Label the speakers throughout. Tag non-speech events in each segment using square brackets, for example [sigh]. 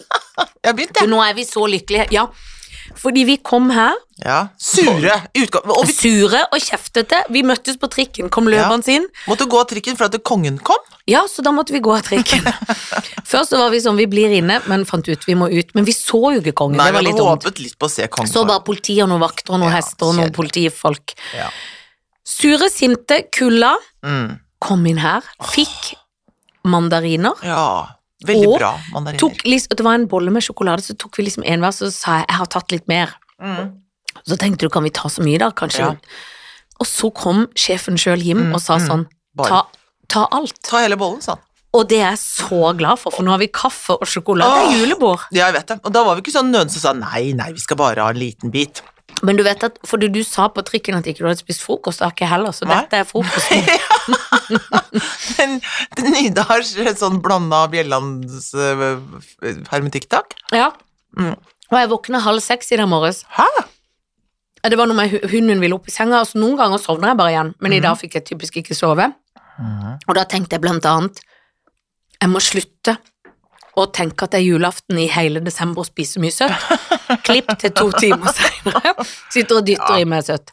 Speaker 1: Jeg har begynt,
Speaker 2: For
Speaker 1: jeg.
Speaker 2: nå er vi så lykkelige. Ja, fordi vi kom her,
Speaker 1: Ja. Sure. Utgang. Og vi
Speaker 2: sure og kjeftete. Vi møttes på trikken, kom løpende inn.
Speaker 1: måtte gå av trikken for at kongen kom.
Speaker 2: Ja, så da måtte vi gå av
Speaker 1: [laughs]
Speaker 2: trikken. Først så var vi sånn, vi blir inne, men fant ut vi må ut. Men vi så jo ikke kongen,
Speaker 1: Nei,
Speaker 2: det var
Speaker 1: vi
Speaker 2: litt
Speaker 1: hadde
Speaker 2: dumt.
Speaker 1: håpet litt på å se kongen.
Speaker 2: Så bare politi og noen vakter og noen
Speaker 1: Ja,
Speaker 2: hester og noen
Speaker 1: kjedelig.
Speaker 2: politifolk.
Speaker 1: Ja.
Speaker 2: Sure, sinte, kulda
Speaker 1: Mm.
Speaker 2: kom inn her, fikk mandariner.
Speaker 1: ja. Veldig
Speaker 2: Og
Speaker 1: bra mandariner.
Speaker 2: Tok, liksom- det var en bolle med sjokolade, så tok vi liksom en hver, så sa jeg jeg har tatt litt mer.
Speaker 1: Mm.
Speaker 2: Så tenkte du, kan vi ta så mye da, kanskje?
Speaker 1: Ja.
Speaker 2: Og så kom sjefen sjøl hjem
Speaker 1: Mm,
Speaker 2: og sa
Speaker 1: mm.
Speaker 2: sånn,
Speaker 1: Bare
Speaker 2: ta, ta alt.
Speaker 1: ta hele bollen, sa han.
Speaker 2: Og det er jeg så glad for, for nå har vi kaffe og sjokolade. Det
Speaker 1: Åh.
Speaker 2: er julebord.
Speaker 1: Ja, jeg vet det. Og da var vi ikke sånn nødende som sa nei, nei, vi skal bare ha en liten bit. [laughs]
Speaker 2: Men du vet at, fordi du sa på trikken at ikke du hadde spist frokost, det har ikke jeg heller, så
Speaker 1: Nei.
Speaker 2: dette
Speaker 1: [laughs]
Speaker 2: er frokosten.
Speaker 1: Den, den Nidars sånn blanda Bjellands uh, hermetikktak.
Speaker 2: Ja.
Speaker 1: Mm.
Speaker 2: Og jeg våkna halv seks i dag morges.
Speaker 1: Hæ?
Speaker 2: Ja, Det var noe med hu- hunden ville opp i senga, altså noen ganger sovner jeg bare igjen, men
Speaker 1: Mm.
Speaker 2: i dag fikk jeg typisk ikke sove. Og da tenkte jeg blant annet, jeg må slutte å tenke at det er julaften i hele desember og spise mye søtt. Klipp til
Speaker 1: [laughs]
Speaker 2: to timer senere, sitter og dytter
Speaker 1: Ja.
Speaker 2: i meg søtt.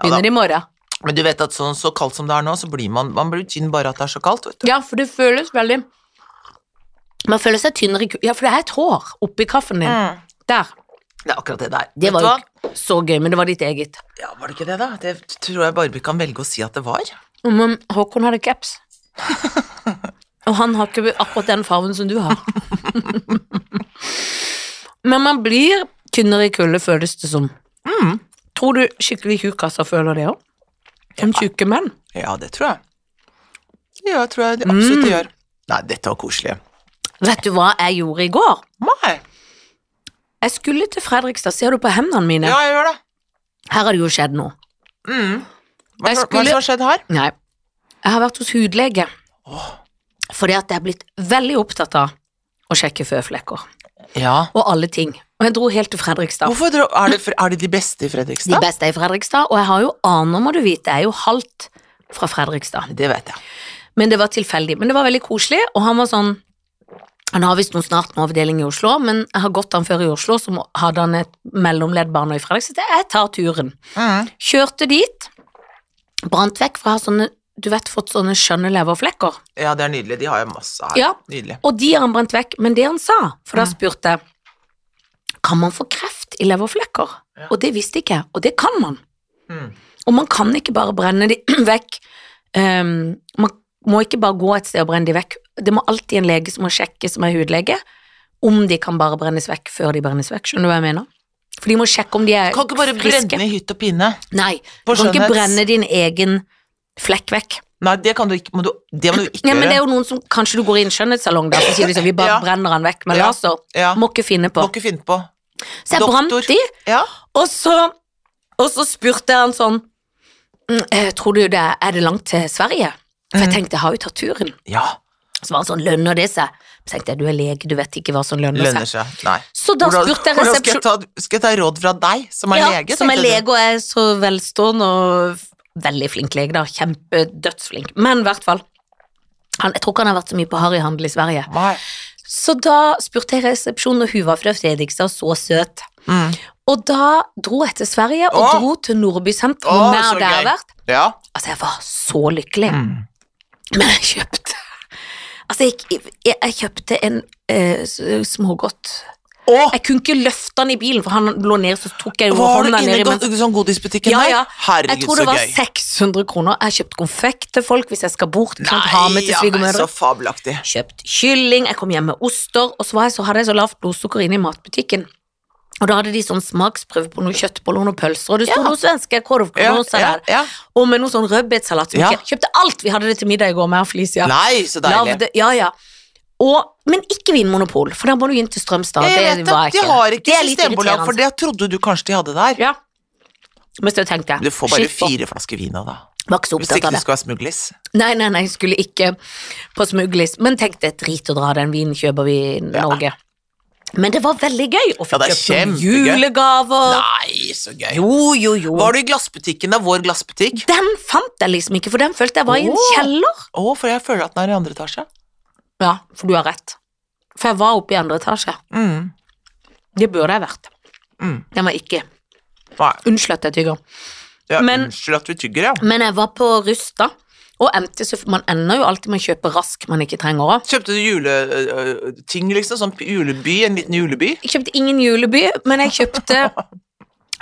Speaker 1: Ja da.
Speaker 2: Begynner i morgen.
Speaker 1: Men du vet at sånn så kaldt som det er nå, så blir man Man blir tynn bare at det er så kaldt, vet du.
Speaker 2: Ja, for det føles veldig Man føler seg tynnere i ku- Ja, for det er et hår oppi kaffen din.
Speaker 1: Mm.
Speaker 2: Der.
Speaker 1: Det er akkurat det der. vet
Speaker 2: Det var
Speaker 1: du
Speaker 2: jo
Speaker 1: hva?
Speaker 2: ikke så gøy, men det var ditt eget.
Speaker 1: Ja, var det ikke det, da? Det tror jeg bare vi kan velge å si at det var.
Speaker 2: Men Håkon
Speaker 1: [laughs]
Speaker 2: hadde caps. Og han har ikke akkurat den farven som du har. [laughs] men man blir tynnere i kulde, føles det som.
Speaker 1: Mm.
Speaker 2: Tror du skikkelig tjukkaser føler det òg? Som tjukke menn?
Speaker 1: Ja, det tror jeg. Ja, jeg tror jeg det absolutt det gjør. Nei, dette var koselig.
Speaker 2: Vet du hva jeg gjorde i går?
Speaker 1: Nei.
Speaker 2: Jeg skulle til Fredrikstad, ser du på hendene mine?
Speaker 1: Ja, jeg gjør det.
Speaker 2: Her har det jo skjedd noe.
Speaker 1: Mm. Hva,
Speaker 2: Jeg
Speaker 1: hva, hva
Speaker 2: skulle-
Speaker 1: som har skjedd her?
Speaker 2: Nei. Jeg har vært hos hudlege.
Speaker 1: Åh.
Speaker 2: Fordi at jeg er blitt veldig opptatt av å sjekke føflekker.
Speaker 1: Ja.
Speaker 2: Og alle ting. Og jeg dro helt til Fredrikstad.
Speaker 1: Hvorfor dro, er, det, er det de beste i
Speaker 2: De
Speaker 1: Fredrikstad?
Speaker 2: beste er i Fredrikstad, og jeg har jo aner, må du vite. Jeg er jo halvt fra Fredrikstad.
Speaker 1: Det vet jeg.
Speaker 2: Men det var tilfeldig. Men det var veldig koselig, og han var sånn han har visst noe snart med avdeling i Oslo, men jeg har gått han før i Oslo, så må- hadde han et mellomleddbarn nå i Fredrikstad. så Jeg tar turen.
Speaker 1: Mm.
Speaker 2: Kjørte dit, brant vekk, for jeg har sånne, du vet, fått sånne skjønne leverflekker.
Speaker 1: Ja, det er nydelig. De har jeg masse her.
Speaker 2: Ja.
Speaker 1: Nydelig.
Speaker 2: Og de har han brent vekk, men det han sa, for da spurte jeg Kan man få kreft i leverflekker?
Speaker 1: Ja.
Speaker 2: Og det visste ikke jeg, og det kan man.
Speaker 1: Mm.
Speaker 2: Og man kan ikke bare brenne de [clears throat] vekk. Ehm, man må ikke bare gå et sted og brenne de vekk. Det må alltid en lege som må sjekke, som er hudlege, om de kan bare brennes vekk før de brennes vekk. Skjønner du hva jeg mener? For de må sjekke om de er
Speaker 1: Kan ikke bare
Speaker 2: friske.
Speaker 1: brenne i hytt og pine.
Speaker 2: Nei,
Speaker 1: På
Speaker 2: du kan ikke
Speaker 1: skjønnhets-
Speaker 2: brenne din egen flekk vekk.
Speaker 1: Nei, det kan du ikke, må du, det må du ikke
Speaker 2: Ja, men det er
Speaker 1: gjøre.
Speaker 2: jo noen som Kanskje du går i en skjønnhetssalong der, så sier de sånn Vi bare
Speaker 1: Ja.
Speaker 2: brenner han vekk med
Speaker 1: Ja.
Speaker 2: laser.
Speaker 1: Ja,
Speaker 2: Må ikke finne på.
Speaker 1: må ikke finne på.
Speaker 2: Så jeg brant
Speaker 1: Doktor.
Speaker 2: de,
Speaker 1: Ja.
Speaker 2: og så, og så spurte han sånn «Mm, eh, Tror du det er det langt til Sverige? For
Speaker 1: Mm.
Speaker 2: jeg tenkte, jeg har jo tatt turen.
Speaker 1: ja.
Speaker 2: Så var han sånn, lønner det seg? Så tenkte jeg, du er lege, du vet ikke hva som lønner,
Speaker 1: Lønner
Speaker 2: seg.
Speaker 1: seg. Nei.
Speaker 2: Så da
Speaker 1: Hvordan-
Speaker 2: spurte jeg
Speaker 1: hvordan skal, jeg
Speaker 2: resepsjon...
Speaker 1: ta, skal jeg ta råd fra deg, som er
Speaker 2: Ja,
Speaker 1: lege?
Speaker 2: som er
Speaker 1: tenkte jeg.
Speaker 2: lege og er så velstående og f- veldig flink lege, da. Kjempedødsflink. Men i hvert fall. Han, jeg tror ikke han har vært så mye på harryhandel i Sverige.
Speaker 1: Nei.
Speaker 2: Så da spurte jeg resepsjonen, og hun var fra Fredrikstad, så søt.
Speaker 1: Mm.
Speaker 2: Og da dro jeg til Sverige, og
Speaker 1: Åh!
Speaker 2: dro til Nordby senter,
Speaker 1: Åh, så
Speaker 2: hvor nær det har
Speaker 1: gøy.
Speaker 2: vært.
Speaker 1: Ja.
Speaker 2: Altså, jeg var så lykkelig.
Speaker 1: Mm.
Speaker 2: Men jeg kjøpte Altså, jeg, gikk- jeg, jeg kjøpte en eh, s- smågodt
Speaker 1: Og
Speaker 2: Jeg kunne ikke løfte han i bilen, for han lå ned, så tok jeg jo
Speaker 1: var du
Speaker 2: hånda
Speaker 1: inne
Speaker 2: ned
Speaker 1: i
Speaker 2: i mens-
Speaker 1: go- sånn godisbutikken
Speaker 2: Ja,
Speaker 1: der?
Speaker 2: ja. Jeg
Speaker 1: Herregud,
Speaker 2: tror det
Speaker 1: så
Speaker 2: var
Speaker 1: gøy.
Speaker 2: 600 kroner. Jeg har kjøpt konfekt til folk hvis jeg skal bort. Kan ha med til
Speaker 1: ja, men
Speaker 2: svigermødre.
Speaker 1: så fabelaktig.
Speaker 2: kjøpt kylling, jeg kom hjem med oster, og så, var jeg, så hadde jeg så lavt blodsukker inne i matbutikken. Og da hadde de sånn smaksprøve på noen kjøttboller og noen pølser, og det sto
Speaker 1: Ja.
Speaker 2: noen svenske korvkronoser
Speaker 1: ja,
Speaker 2: der. Og med noen sånn rødbetsalat. som
Speaker 1: Ja.
Speaker 2: ikke- Kjøpte alt! Vi hadde det til middag i går, med og Felicia.
Speaker 1: Nei, så deilig.
Speaker 2: Lagde, ja, ja. Og, men ikke Vinmonopol, for da må du inn til Strømstad.
Speaker 1: Jeg
Speaker 2: Det
Speaker 1: vet
Speaker 2: var jeg
Speaker 1: det. De har ikke
Speaker 2: Det er litt
Speaker 1: systembolag, for
Speaker 2: irriterende.
Speaker 1: det trodde du kanskje de hadde der.
Speaker 2: Ja. Men så tenkte jeg
Speaker 1: Du får bare
Speaker 2: shit,
Speaker 1: fire flasker vin av, da.
Speaker 2: Var ikke så
Speaker 1: Hvis
Speaker 2: opptatt
Speaker 1: ikke
Speaker 2: av
Speaker 1: du
Speaker 2: det.
Speaker 1: skal ha smuglis.
Speaker 2: Nei, nei, nei, jeg skulle ikke på smuglis, men tenkte drit å dra, den vinen kjøper vi i Norge. Men det var veldig gøy, og
Speaker 1: Ja,
Speaker 2: fikk
Speaker 1: det er
Speaker 2: kjøpt noen
Speaker 1: kjempegøy.
Speaker 2: julegaver.
Speaker 1: Nei, så gøy.
Speaker 2: Jo, jo, jo.
Speaker 1: Var du i glassbutikken, da? Vår glassbutikk?
Speaker 2: Den fant jeg liksom ikke, for den følte jeg var i en
Speaker 1: Åh.
Speaker 2: kjeller.
Speaker 1: Å, for jeg føler at den er i andre etasje.
Speaker 2: Ja, for du har rett. For jeg var oppe i andre etasje.
Speaker 1: Mm.
Speaker 2: Det burde jeg vært.
Speaker 1: Mm.
Speaker 2: Den var ikke.
Speaker 1: Nei.
Speaker 2: Unnskyld at jeg tygger.
Speaker 1: Ja,
Speaker 2: Men-
Speaker 1: unnskyld at vi tygger, ja.
Speaker 2: Men jeg var på Rusta, og endte så Man ender jo alltid med å kjøpe rask man ikke trenger òg.
Speaker 1: Kjøpte du juleting, liksom? Sånn juleby? En liten juleby?
Speaker 2: Jeg kjøpte ingen juleby, men jeg kjøpte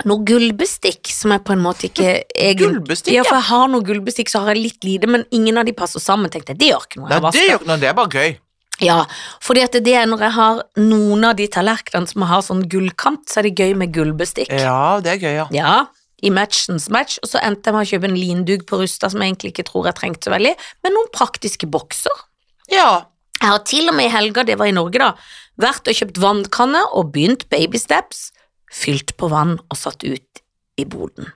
Speaker 2: noe gullbestikk som jeg på en måte ikke egen...
Speaker 1: Gullbestikk,
Speaker 2: Ja,
Speaker 1: ja.
Speaker 2: for jeg har noe gullbestikk, så har jeg litt lite, men ingen av de passer sammen. Tenkte jeg, det gjør ikke noe.
Speaker 1: Nei,
Speaker 2: Jeg
Speaker 1: det
Speaker 2: vasker.
Speaker 1: gjør ikke noe, det er bare gøy.
Speaker 2: Ja, fordi at det er når jeg har noen av de tallerkenene som har sånn gullkant, så er det gøy med gullbestikk.
Speaker 1: Ja, det er gøy, ja.
Speaker 2: Ja, i matchens match, og så endte jeg med å kjøpe en lindug på Rusta som jeg egentlig ikke tror jeg trengte så veldig, men noen praktiske bokser.
Speaker 1: Ja,
Speaker 2: Jeg har til og med i helga, det var i Norge da, vært og kjøpt vannkanne og begynt baby steps, fylt på vann og satt ut i boden.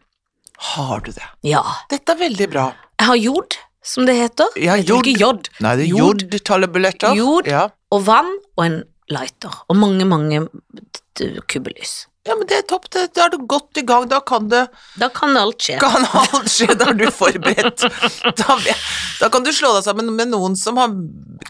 Speaker 1: har du det?
Speaker 2: Ja,
Speaker 1: Dette er veldig bra.
Speaker 2: jeg har jod, som det heter.
Speaker 1: Ja,
Speaker 2: Jeg tror
Speaker 1: jod.
Speaker 2: ikke jod.
Speaker 1: Nei, det er
Speaker 2: Jod.
Speaker 1: jordtallebilletter.
Speaker 2: Jord.
Speaker 1: Ja.
Speaker 2: Og vann og en lighter, og mange, mange t- t- kubbelys.
Speaker 1: ja, men det er topp, det, da er du godt i gang, da kan det
Speaker 2: Da kan alt skje.
Speaker 1: kan alt skje, da er du forberedt. Da, da kan du slå deg sammen med noen som har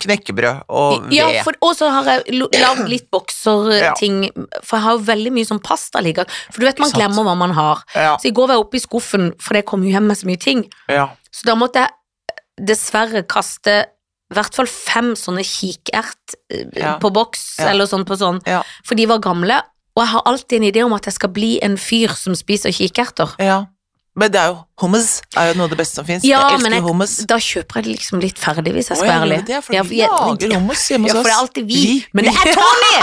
Speaker 1: knekkebrød og ved.
Speaker 2: Ja, for, og så har jeg lo- lagd litt
Speaker 1: Ja.
Speaker 2: bokserting, for jeg har jo veldig mye sånn pasta ligger For du vet, man
Speaker 1: Ikke sant.
Speaker 2: glemmer hva man har.
Speaker 1: Ja,
Speaker 2: Så i går var jeg oppe i skuffen, for det kom jo hjem med så mye ting.
Speaker 1: ja.
Speaker 2: Så da måtte jeg eh, dessverre kaste i hvert fall fem sånne kikert eh,
Speaker 1: Ja.
Speaker 2: på boks,
Speaker 1: Ja.
Speaker 2: eller sånn på sånn,
Speaker 1: Ja.
Speaker 2: for de var gamle. Og jeg har alltid en idé om at jeg skal bli en fyr som spiser kikerter.
Speaker 1: ja. Men det er jo hummus er jo noe av det beste som fins.
Speaker 2: Ja,
Speaker 1: jeg
Speaker 2: men
Speaker 1: elsker
Speaker 2: jeg-
Speaker 1: hummus.
Speaker 2: Da kjøper jeg det liksom litt ferdig, hvis
Speaker 1: Å,
Speaker 2: jeg skal
Speaker 1: ja,
Speaker 2: være ærlig.
Speaker 1: men Det er fordi
Speaker 2: Ja, for jeg-
Speaker 1: vi lager hummus hjemme hos oss.
Speaker 2: Ja, for det er alltid vi. Men det er Tony!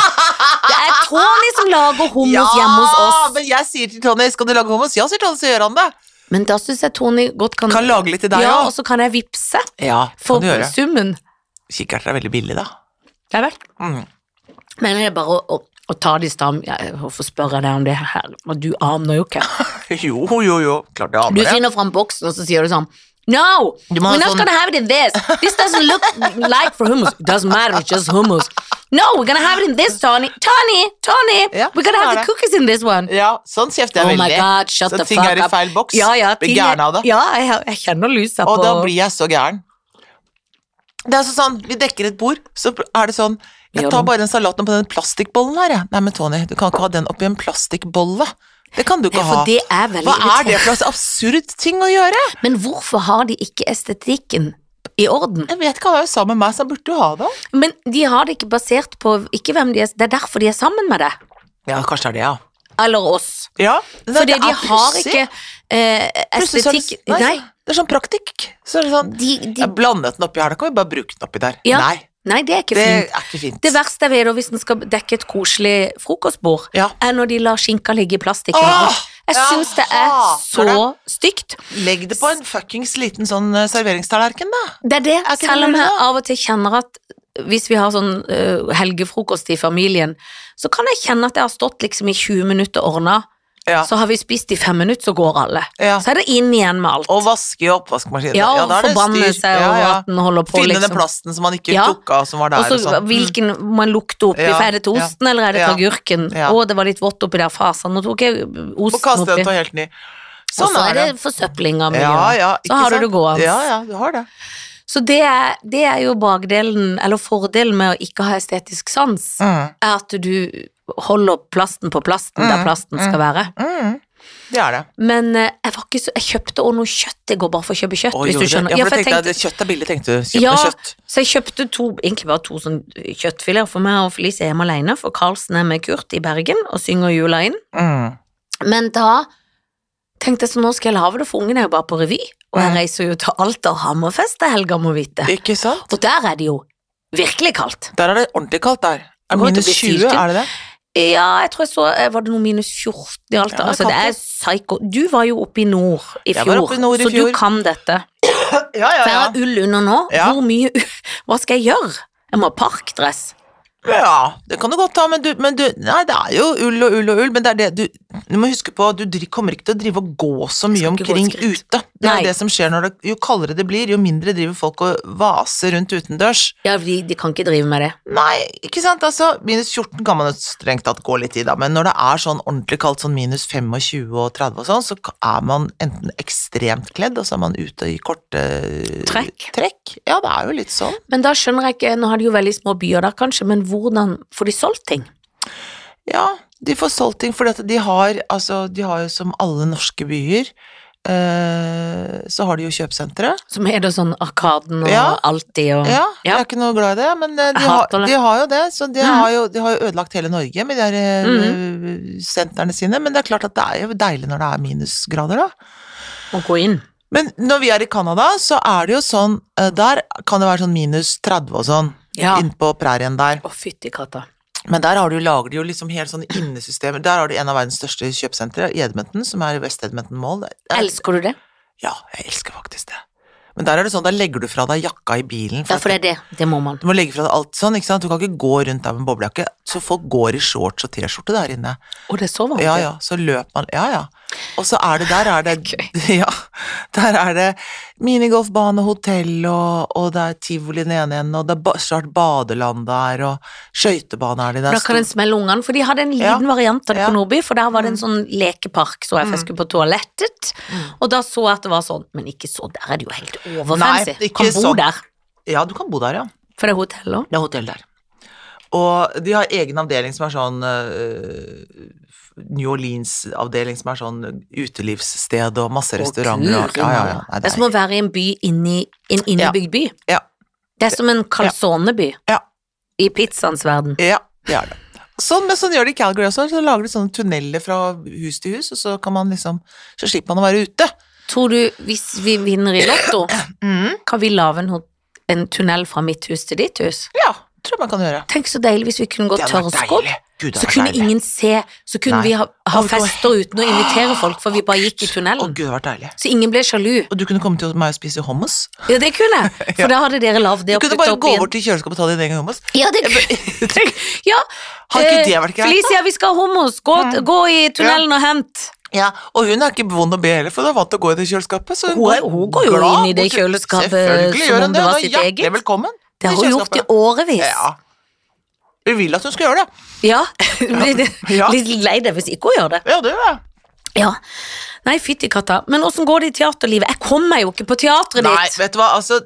Speaker 2: Det er Tony som lager hummus hjemme hos
Speaker 1: [laughs] Ja,
Speaker 2: oss.
Speaker 1: men jeg sier til Tony 'skal du lage hummus'? Ja, sier Tony, så gjør han det.
Speaker 2: Men da syns jeg Tony godt kan,
Speaker 1: Kan lage litt til deg
Speaker 2: Ja,
Speaker 1: òg.
Speaker 2: og så kan jeg vippse
Speaker 1: Ja,
Speaker 2: for
Speaker 1: kan du gjøre.
Speaker 2: summen.
Speaker 1: Kikkerter er veldig billig, da.
Speaker 2: Det er vel.
Speaker 1: Mm.
Speaker 2: Men det er bare å, å, å ta det i stam. Ja, Hvorfor spør jeg deg om det her? Men Du aner jo ikke.
Speaker 1: [laughs] Jo, jo, jo. Klart jeg
Speaker 2: Du
Speaker 1: aner det.
Speaker 2: finner fram boksen, og så sier du sånn No,
Speaker 1: Du
Speaker 2: we're
Speaker 1: må ha
Speaker 2: not
Speaker 1: sånn-
Speaker 2: gonna have it in this. This doesn't look like for hummus. It doesn't matter, it's just hummus. No, we're gonna have it in this, Tony. Tony, Tony,
Speaker 1: Ja,
Speaker 2: we're gonna have
Speaker 1: det er
Speaker 2: the cookies in this one.
Speaker 1: Ja, sånn kjefter jeg
Speaker 2: Oh my
Speaker 1: veldig.
Speaker 2: God, shut
Speaker 1: så
Speaker 2: the
Speaker 1: ting
Speaker 2: fuck
Speaker 1: er i
Speaker 2: up.
Speaker 1: feil boks.
Speaker 2: Ja, ja,
Speaker 1: Blir
Speaker 2: ting er-
Speaker 1: gæren av det.
Speaker 2: Ja, jeg, har- jeg kjenner lusa på
Speaker 1: Og da blir jeg så gæren. Det er altså sånn, Vi dekker et bord, så er det sånn Jeg
Speaker 2: Gjør
Speaker 1: tar
Speaker 2: det.
Speaker 1: bare den salaten på den plastikkbollen her, jeg. Nei, men Tony, du kan ikke ha den oppi en plastikkbolle. Det kan du
Speaker 2: Ja,
Speaker 1: ikke
Speaker 2: For
Speaker 1: ha.
Speaker 2: det er veldig
Speaker 1: Hva er det
Speaker 2: irriterende.
Speaker 1: for slags absurd ting å gjøre?
Speaker 2: Men hvorfor har de ikke estetikken i orden?
Speaker 1: Jeg vet ikke, han er jo sammen med meg, så han burde jo ha det.
Speaker 2: Men de har det ikke basert på ikke hvem de er, det er derfor de er sammen med deg.
Speaker 1: Ja, kanskje det er det, ja.
Speaker 2: Eller oss.
Speaker 1: ja.
Speaker 2: Fordi
Speaker 1: det er
Speaker 2: de har
Speaker 1: pussig.
Speaker 2: ikke eh,
Speaker 1: Plutselig så er det-
Speaker 2: estetikk
Speaker 1: Nei,
Speaker 2: Nei.
Speaker 1: Det er sånn praktikk. Så er det sånn
Speaker 2: De, de,
Speaker 1: Jeg blandet den oppi her, da kan vi bare bruke den oppi der.
Speaker 2: Ja.
Speaker 1: Nei,
Speaker 2: nei, det er ikke
Speaker 1: det
Speaker 2: fint.
Speaker 1: er ikke fint.
Speaker 2: Det verste jeg vet da, hvis en skal dekke et koselig frokostbord,
Speaker 1: Ja.
Speaker 2: er når de lar skinka ligge i plastikk.
Speaker 1: Åh, jeg
Speaker 2: jeg syns det er
Speaker 1: hater
Speaker 2: så stygt.
Speaker 1: Legg det på en fuckings liten sånn eh, serveringstallerken, da.
Speaker 2: Det er det,
Speaker 1: Er ikke det
Speaker 2: selv om jeg
Speaker 1: lurt,
Speaker 2: av og til kjenner at hvis vi har sånn øh, helgefrokost i familien, så kan jeg kjenne at jeg har stått liksom i 20 minutter og ordna,
Speaker 1: Ja.
Speaker 2: så har vi spist i fem minutter, så går alle.
Speaker 1: Ja.
Speaker 2: Så er det inn igjen med alt.
Speaker 1: Og vaske i oppvaskmaskinen.
Speaker 2: ja, og
Speaker 1: da er det
Speaker 2: forbanne
Speaker 1: styr.
Speaker 2: seg
Speaker 1: Ja,
Speaker 2: over
Speaker 1: ja.
Speaker 2: at den holder på,
Speaker 1: Finne den
Speaker 2: liksom.
Speaker 1: plasten som man ikke
Speaker 2: Ja.
Speaker 1: tok av, som var der.
Speaker 2: Og
Speaker 1: og
Speaker 2: så
Speaker 1: sånn.
Speaker 2: hvilken man lukter oppi,
Speaker 1: Ja,
Speaker 2: for er det til
Speaker 1: ja.
Speaker 2: osten, eller er det
Speaker 1: Ja,
Speaker 2: til agurken? Å,
Speaker 1: ja.
Speaker 2: det var litt vått oppi der, fasen, nå tok jeg
Speaker 1: Mm. Og
Speaker 2: osten
Speaker 1: kaste den
Speaker 2: oppi.
Speaker 1: til helt ny.
Speaker 2: Og
Speaker 1: Sånn
Speaker 2: så
Speaker 1: er
Speaker 2: er
Speaker 1: det.
Speaker 2: det forsøpling av
Speaker 1: Ja,
Speaker 2: miljøet.
Speaker 1: ja,
Speaker 2: Så har du
Speaker 1: sant?
Speaker 2: det gående.
Speaker 1: Ja, ja, du har det.
Speaker 2: Så det er, det er jo bakdelen, eller fordelen med å ikke ha estetisk sans.
Speaker 1: Mm.
Speaker 2: er at du holder plasten på plasten der
Speaker 1: Mm, mm.
Speaker 2: plasten skal være.
Speaker 1: Mm. Det er det.
Speaker 2: Men eh, jeg, var ikke så, jeg kjøpte også noe kjøtt i går bare for å kjøpe kjøtt,
Speaker 1: Å,
Speaker 2: hvis
Speaker 1: gjorde
Speaker 2: du
Speaker 1: det?
Speaker 2: skjønner.
Speaker 1: Ja,
Speaker 2: Ja,
Speaker 1: for jeg tenkte,
Speaker 2: jeg tenkte,
Speaker 1: at Kjøtt er billig, tenkte du. Kjøp
Speaker 2: Ja.
Speaker 1: noe kjøtt.
Speaker 2: så jeg kjøpte to, egentlig bare to sånn kjøttfileter for meg og Felice er hjemme alene, for Karlsen er med Kurt i Bergen og synger jula inn.
Speaker 1: Mm.
Speaker 2: Men da tenkte jeg så nå skal jeg lage det, for ungen er jo bare på revy, og jeg
Speaker 1: Mm.
Speaker 2: reiser jo til Alta og Hammerfest til helga, må vite.
Speaker 1: Ikke sant?
Speaker 2: Og der er det jo virkelig kaldt.
Speaker 1: Der er det ordentlig kaldt der. Er det
Speaker 2: Kommer til å
Speaker 1: minus
Speaker 2: bli
Speaker 1: 20,
Speaker 2: syltynn.
Speaker 1: er det det?
Speaker 2: Ja, jeg tror jeg så, eh, var det noe minus 14 i Alta?
Speaker 1: Ja, det kan
Speaker 2: altså, det er psyko. Du var jo oppe i nord i
Speaker 1: Jeg var
Speaker 2: fjor,
Speaker 1: oppe i nord i
Speaker 2: så
Speaker 1: fjor.
Speaker 2: du kan dette.
Speaker 1: Ja, ja,
Speaker 2: For jeg har ull under nå.
Speaker 1: Ja.
Speaker 2: Hvor mye u- [laughs] Hva skal jeg gjøre? Jeg må ha parkdress.
Speaker 1: Ja, det kan du godt ta, men du, men du Nei, det er jo ull og ull og ull, men det er det du Du må huske på, du dri- kommer ikke til å drive og gå så mye
Speaker 2: Skal ikke gå et
Speaker 1: omkring
Speaker 2: skritt.
Speaker 1: ute. Det er
Speaker 2: Nei.
Speaker 1: jo det som skjer når det Jo kaldere det blir, jo mindre driver folk og vaser rundt utendørs.
Speaker 2: Ja, de, de kan ikke drive med det.
Speaker 1: Nei, ikke sant, altså. Minus 14 kan man jo strengt tatt gå litt i, da, men når det er sånn ordentlig kaldt, sånn minus 25 og 30 og sånn, så er man enten ekstremt kledd, og så er man ute i korte
Speaker 2: Trekk.
Speaker 1: trekk. Ja, det er jo litt sånn.
Speaker 2: Men da skjønner jeg ikke Nå har de jo veldig små byer der, kanskje, men hvordan får de solgt ting?
Speaker 1: Ja, De får solgt ting, for de har, altså, de har jo som alle norske byer eh, Så har de jo kjøpesentre.
Speaker 2: Som er da sånn Arkaden og
Speaker 1: Ja.
Speaker 2: Alltid og
Speaker 1: Ja, jeg
Speaker 2: Ja.
Speaker 1: er ikke noe glad i det, men eh, de,
Speaker 2: Jeg
Speaker 1: har,
Speaker 2: hater det.
Speaker 1: de har jo det. Så de,
Speaker 2: Mm.
Speaker 1: har jo, de har jo ødelagt hele Norge med de her eh,
Speaker 2: Mm.
Speaker 1: sentrene sine, men det er klart at det er jo deilig når det er minusgrader, da.
Speaker 2: å gå inn.
Speaker 1: Men når vi er i Canada, så er det jo sånn eh, Der kan det være sånn minus 30 og sånn
Speaker 2: Ja.
Speaker 1: inn på prærien der.
Speaker 2: Å, fytti katta.
Speaker 1: Men der har du, lager de jo liksom helt sånne innesystemer. Der har du en av verdens største kjøpesentre, i Edmonton, som er i West Edmonton Mall. Det er-
Speaker 2: Elsker du det?
Speaker 1: Ja, jeg elsker faktisk det. Men der er det sånn, der legger du fra deg jakka i bilen.
Speaker 2: Ja,
Speaker 1: at-
Speaker 2: for det er det. Det må man.
Speaker 1: Du må legge fra deg alt sånn, ikke sant? Du kan ikke gå rundt der med boblejakke. Så folk går i shorts og T-skjorte der inne.
Speaker 2: Å, det er så varmt.
Speaker 1: Ja, ja, så løper man Ja, ja. Og så er det der er
Speaker 2: [laughs]
Speaker 1: det [laughs] Ja, der er det minigolfbane, hotell og, og det er tivoli i den ene enden, og det er ba- snart badeland der, og skøytebane er det der.
Speaker 2: Da kan en smelle ungene, for de hadde en liten
Speaker 1: Ja.
Speaker 2: variant av det
Speaker 1: Ja. Mm.
Speaker 2: på Nordby, for der var det en sånn lekepark, så jeg for jeg skulle på toalettet, og da så jeg at det var sånn, men ikke så, der er det jo helt overfancy.
Speaker 1: Nei, ikke
Speaker 2: Kan bo
Speaker 1: sånn.
Speaker 2: der,
Speaker 1: Ja, du kan bo der, ja.
Speaker 2: for det er hotell også.
Speaker 1: Det er hotell der. Og de har egen avdeling som er sånn øh, New Orleans-avdeling som er sånn utelivssted og masse
Speaker 2: Å,
Speaker 1: restauranter. og-
Speaker 2: Gud,
Speaker 1: Ja, ja, ja. Nei,
Speaker 2: Det er som å være i en by inni, en innebygd by.
Speaker 1: Ja.
Speaker 2: Det er som en calzoneby.
Speaker 1: Ja.
Speaker 2: I pizzaens verden.
Speaker 1: Ja, det er det. Sånn, men sånn gjør de i Calgary også. Så lager de sånne tunneler fra hus til hus, og så kan man liksom Så slipper man å være ute.
Speaker 2: Tror du, hvis vi vinner i lotto,
Speaker 1: Mm,
Speaker 2: kan vi lave en, ho- en tunnel fra mitt hus til ditt hus?
Speaker 1: Ja, tror jeg man kan gjøre.
Speaker 2: Tenk så deilig hvis vi kunne gå
Speaker 1: Det hadde vært
Speaker 2: tørrskodd.
Speaker 1: deilig. Gud, det
Speaker 2: Så
Speaker 1: hadde vært
Speaker 2: kunne
Speaker 1: deilig.
Speaker 2: ingen se, så kunne
Speaker 1: Nei.
Speaker 2: vi ha, ha
Speaker 1: Å, det var-
Speaker 2: fester uten å invitere folk, for vi bare gikk i
Speaker 1: Å, gud,
Speaker 2: tunnelen.
Speaker 1: det hadde vært deilig.
Speaker 2: Så ingen ble sjalu.
Speaker 1: Og du kunne komme til meg og spise hummus.
Speaker 2: Ja, det kunne
Speaker 1: [laughs]
Speaker 2: jeg, for da hadde dere
Speaker 1: Du
Speaker 2: lagd det og
Speaker 1: kunne
Speaker 2: puttet
Speaker 1: bare
Speaker 2: opp
Speaker 1: gå
Speaker 2: igjen.
Speaker 1: bort til kjøleskapet og ta din egen hummus. [laughs]
Speaker 2: Ja, det kunne [laughs] ja,
Speaker 1: Hadde ikke
Speaker 2: eh,
Speaker 1: det vært greit, da? Mm.
Speaker 2: Felicia, vi skal ha hummus. Gå, gå i tunnelen og hent.
Speaker 1: Ja, og hun er ikke vond å be heller, for hun er vant til å gå i det kjøleskapet. Så
Speaker 2: Hun er- hun går jo
Speaker 1: glad
Speaker 2: inn i det
Speaker 1: bort til-
Speaker 2: kjøleskapet
Speaker 1: Selvfølgelig
Speaker 2: som
Speaker 1: gjør
Speaker 2: om
Speaker 1: hun
Speaker 2: det
Speaker 1: det.
Speaker 2: var
Speaker 1: Hun er
Speaker 2: sitt
Speaker 1: hjertelig
Speaker 2: eget.
Speaker 1: velkommen.
Speaker 2: Det har
Speaker 1: til
Speaker 2: hun gjort i
Speaker 1: kjøleskapet.
Speaker 2: årevis.
Speaker 1: Ja. Vi vil at hun skal gjøre det. [laughs]
Speaker 2: Ja, [laughs] blir det
Speaker 1: Ja.
Speaker 2: litt lei deg hvis ikke hun gjør det.
Speaker 1: Ja, det gjør jeg.
Speaker 2: Ja. Nei, fytti katta. Men åssen går det i teaterlivet? Jeg kommer meg jo ikke på teatret
Speaker 1: Nei,
Speaker 2: ditt.
Speaker 1: vet du hva, altså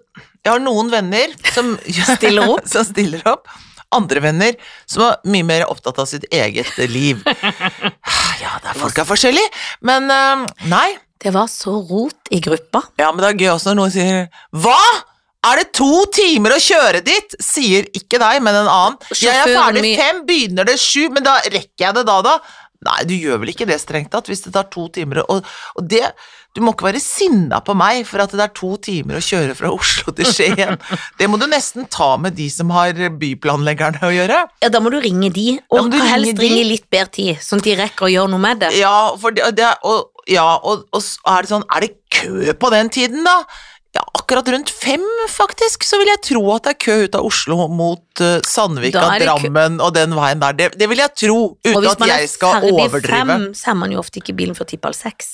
Speaker 1: Jeg har noen venner som
Speaker 2: [laughs] Stiller
Speaker 1: [laughs]
Speaker 2: opp.
Speaker 1: som stiller opp. Andre venner som er mye mer opptatt av sitt eget liv.
Speaker 2: [laughs]
Speaker 1: Ah, Ja, det er, folk er forskjellige, men eh, nei.
Speaker 2: Det var så rot i gruppa.
Speaker 1: Ja, men det er gøy også når noen sier Hva?! Er det to timer å kjøre dit?! Sier ikke deg, men en annen. Jeg er
Speaker 2: Sjåføren
Speaker 1: ferdig
Speaker 2: min-
Speaker 1: fem, begynner det sju, men da rekker jeg det da, da. Nei, du gjør vel ikke det strengt tatt, hvis det tar to timer å- og, og det Du må ikke være sinna på meg for at det er to timer å kjøre fra Oslo til
Speaker 2: [laughs]
Speaker 1: Skien. Det må du nesten ta med de som har byplanleggerne å gjøre.
Speaker 2: Ja, da må du ringe de,
Speaker 1: må
Speaker 2: og
Speaker 1: du
Speaker 2: kan
Speaker 1: ringe
Speaker 2: helst
Speaker 1: de.
Speaker 2: ringe i litt bedre tid, sånn at de rekker å gjøre noe med det.
Speaker 1: Ja, for det, det er- og, ja, og, og så er det sånn Er det kø på den tiden, da? Ja, akkurat rundt fem, faktisk, så vil jeg tro at det er kø ut av Oslo mot eh, Sandvika,
Speaker 2: Da er det kø.
Speaker 1: Drammen og den veien der. Det, det vil jeg tro, uten at jeg skal overdrive.
Speaker 2: fem, så er man jo ofte ikke i bilen før ti på halv seks.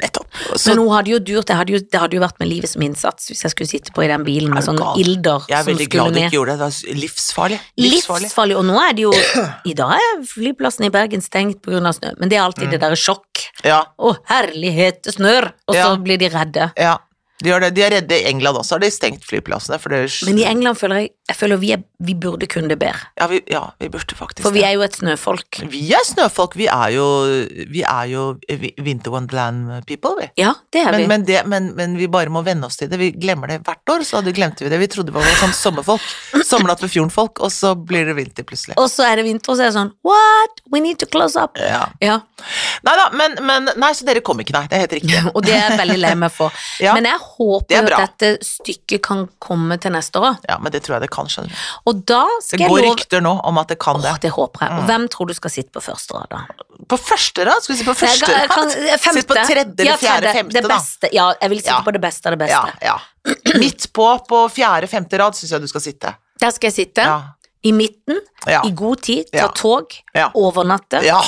Speaker 1: Nettopp. Så
Speaker 2: Men hun hadde jo durt, det hadde jo, det hadde jo vært med livet som innsats hvis jeg skulle sitte på i den bilen med
Speaker 1: Er du
Speaker 2: sånne
Speaker 1: gal?
Speaker 2: ilder
Speaker 1: jeg er
Speaker 2: som
Speaker 1: veldig
Speaker 2: skulle
Speaker 1: glad du
Speaker 2: med.
Speaker 1: ikke gjorde det. Det var s- livsfarlig. Livsfarlig.
Speaker 2: Livsfarlig. Og nå er det jo
Speaker 1: [clears throat]
Speaker 2: I dag er flyplassen i Bergen stengt pga. snø, men det er alltid
Speaker 1: Mm.
Speaker 2: det derre sjokk.
Speaker 1: Ja,
Speaker 2: Å, herlighet, det snør! Og så
Speaker 1: Ja.
Speaker 2: blir de redde.
Speaker 1: ja. De, gjør det. de er redde i England også, har de stengt flyplassene. For det, er-
Speaker 2: Men i England føler jeg, jeg føler vi, er, vi burde kunne det bedre.
Speaker 1: ja, vi, ja, vi burde faktisk
Speaker 2: For vi
Speaker 1: det.
Speaker 2: er jo et snøfolk.
Speaker 1: Vi er snøfolk. Vi er jo, vi er jo vi- Winter Wonderland people, vi.
Speaker 2: Ja, det er vi.
Speaker 1: Men, men, det, men, men vi bare må venne oss til det. Vi glemmer det hvert år, så hadde, glemte vi det. Vi trodde vi var sånn sommerfolk. Sommernatt ved fjorden-folk, og så blir det vinter plutselig.
Speaker 2: Og så er det vinter, og så er det sånn What? We need to close up.
Speaker 1: Ja.
Speaker 2: Ja,
Speaker 1: Nei da, men, men Nei, så dere kom ikke, nei. Det er helt riktig.
Speaker 2: Og det er jeg veldig lei meg for.
Speaker 1: [laughs] Ja.
Speaker 2: Men jeg håper
Speaker 1: Det er
Speaker 2: jo
Speaker 1: bra.
Speaker 2: at dette stykket kan komme til neste år.
Speaker 1: Ja, men det tror jeg det kan, skjønner du.
Speaker 2: Og da skal
Speaker 1: Det
Speaker 2: jeg
Speaker 1: går
Speaker 2: love
Speaker 1: rykter nå om at det kan det. Mm.
Speaker 2: Åh, det håper jeg. Og hvem tror du skal sitte på første rad, da?
Speaker 1: På første rad? Skal vi si på
Speaker 2: Nei, jeg
Speaker 1: første
Speaker 2: kan- jeg kan-
Speaker 1: rad?
Speaker 2: femte.
Speaker 1: Sitt på tredje
Speaker 2: Ja,
Speaker 1: eller fjerde,
Speaker 2: tredje.
Speaker 1: femte,
Speaker 2: det
Speaker 1: da.
Speaker 2: beste. Ja, jeg vil sitte
Speaker 1: Ja.
Speaker 2: på det beste av det
Speaker 1: Ja,
Speaker 2: beste.
Speaker 1: ja. Midt på på fjerde, femte rad syns jeg du skal sitte.
Speaker 2: Der skal jeg sitte.
Speaker 1: Ja.
Speaker 2: I midten,
Speaker 1: Ja.
Speaker 2: i god tid, ta
Speaker 1: Ja.
Speaker 2: tog,
Speaker 1: Ja.
Speaker 2: overnatte.
Speaker 1: ja.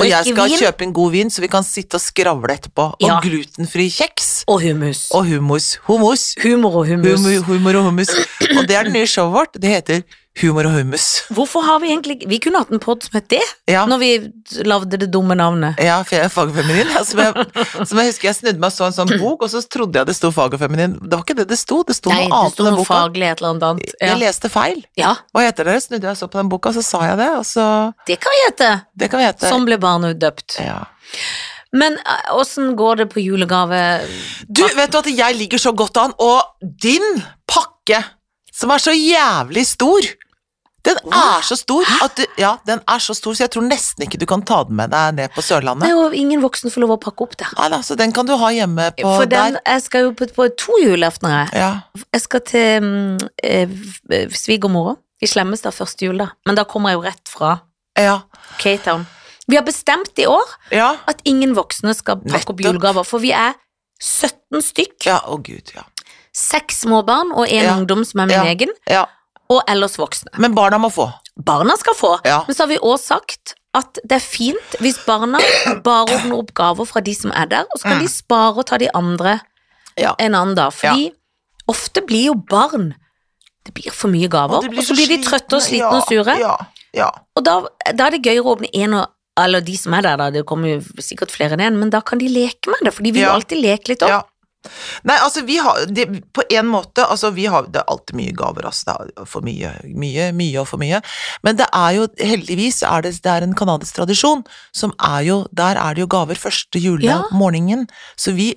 Speaker 1: Og jeg
Speaker 2: Drikke
Speaker 1: skal
Speaker 2: vin.
Speaker 1: kjøpe en god vin, så vi kan sitte og skravle etterpå.
Speaker 2: Ja.
Speaker 1: Og glutenfri kjeks.
Speaker 2: Og hummus.
Speaker 1: Og hummus. Hummus.
Speaker 2: humor og hummus.
Speaker 1: Humor, humor og hummus. Og det er det nye showet vårt. Det heter Humor og hummus.
Speaker 2: Hvorfor har vi egentlig Vi kunne hatt en pod som het det,
Speaker 1: Ja.
Speaker 2: når vi lagde det dumme navnet.
Speaker 1: Ja, for jeg er fagfeminin. ja, Som jeg, som jeg husker jeg snudde meg og så en sånn bok, og så trodde jeg det sto fag og feminin. Det var ikke det det sto, det sto
Speaker 2: Nei,
Speaker 1: noe
Speaker 2: det
Speaker 1: annet
Speaker 2: sto
Speaker 1: i den
Speaker 2: noe
Speaker 1: boka.
Speaker 2: faglig et eller annet.
Speaker 1: Jeg
Speaker 2: Ja.
Speaker 1: leste feil.
Speaker 2: ja,
Speaker 1: Hva heter dere? Snudde jeg og så på den boka, så sa jeg det, og så
Speaker 2: det kan vi hete.
Speaker 1: Det kan vi hete.
Speaker 2: Sånn ble barnet døpt.
Speaker 1: Ja.
Speaker 2: Men eh, åssen går det på julegave
Speaker 1: Du, vet du at jeg ligger så godt an, og din pakke, som er så jævlig stor den
Speaker 2: Åh,
Speaker 1: er så stor at du, ja, den er så stor, så jeg tror nesten ikke du kan ta den med deg ned på
Speaker 2: Det
Speaker 1: Sørlandet.
Speaker 2: er jo ingen voksen får lov å pakke opp der.
Speaker 1: Nei da, så den kan du ha hjemme på
Speaker 2: For den,
Speaker 1: der.
Speaker 2: jeg skal jo på, på to julaftener. jeg.
Speaker 1: Ja.
Speaker 2: Jeg skal til mm, eh, f- eh, svigermora i Slemmestad første jul, da. Men da kommer jeg jo rett fra
Speaker 1: Ja.
Speaker 2: Cape Town. Vi har bestemt i år
Speaker 1: Ja.
Speaker 2: at ingen voksne skal pakke opp
Speaker 1: Nettopp.
Speaker 2: julegaver, for vi er 17 stykk.
Speaker 1: ja. Å, gud, ja.
Speaker 2: Seks små barn og en
Speaker 1: Ja.
Speaker 2: ungdom som er
Speaker 1: Ja.
Speaker 2: min egen,
Speaker 1: ja.
Speaker 2: og ellers voksne.
Speaker 1: Men barna må få.
Speaker 2: Barna skal få,
Speaker 1: Ja.
Speaker 2: men så har vi også sagt at det er fint hvis barna bare ordner opp gaver fra de som er der, og så kan
Speaker 1: Mm.
Speaker 2: de spare og ta de andre
Speaker 1: Ja.
Speaker 2: en annen dag. Fordi ofte blir jo barn Det blir for mye gaver, og, så blir de trøtte og slitne
Speaker 1: ja,
Speaker 2: og sure.
Speaker 1: Ja. ja.
Speaker 2: Og da, da er det gøyere å åpne en og eller de som er der, da. Det kommer jo sikkert flere enn én, men da kan de leke med det, for de vil jo
Speaker 1: Ja.
Speaker 2: alltid leke litt opp.
Speaker 1: Ja. Nei, altså vi har det, På en måte, altså vi har Det er alltid mye gaver, altså. Det er for mye, mye, mye og for mye. Men det er jo heldigvis er det, det er en kanadisk tradisjon som er jo Der er det jo gaver første
Speaker 2: Ja.
Speaker 1: julemorgenen. Så vi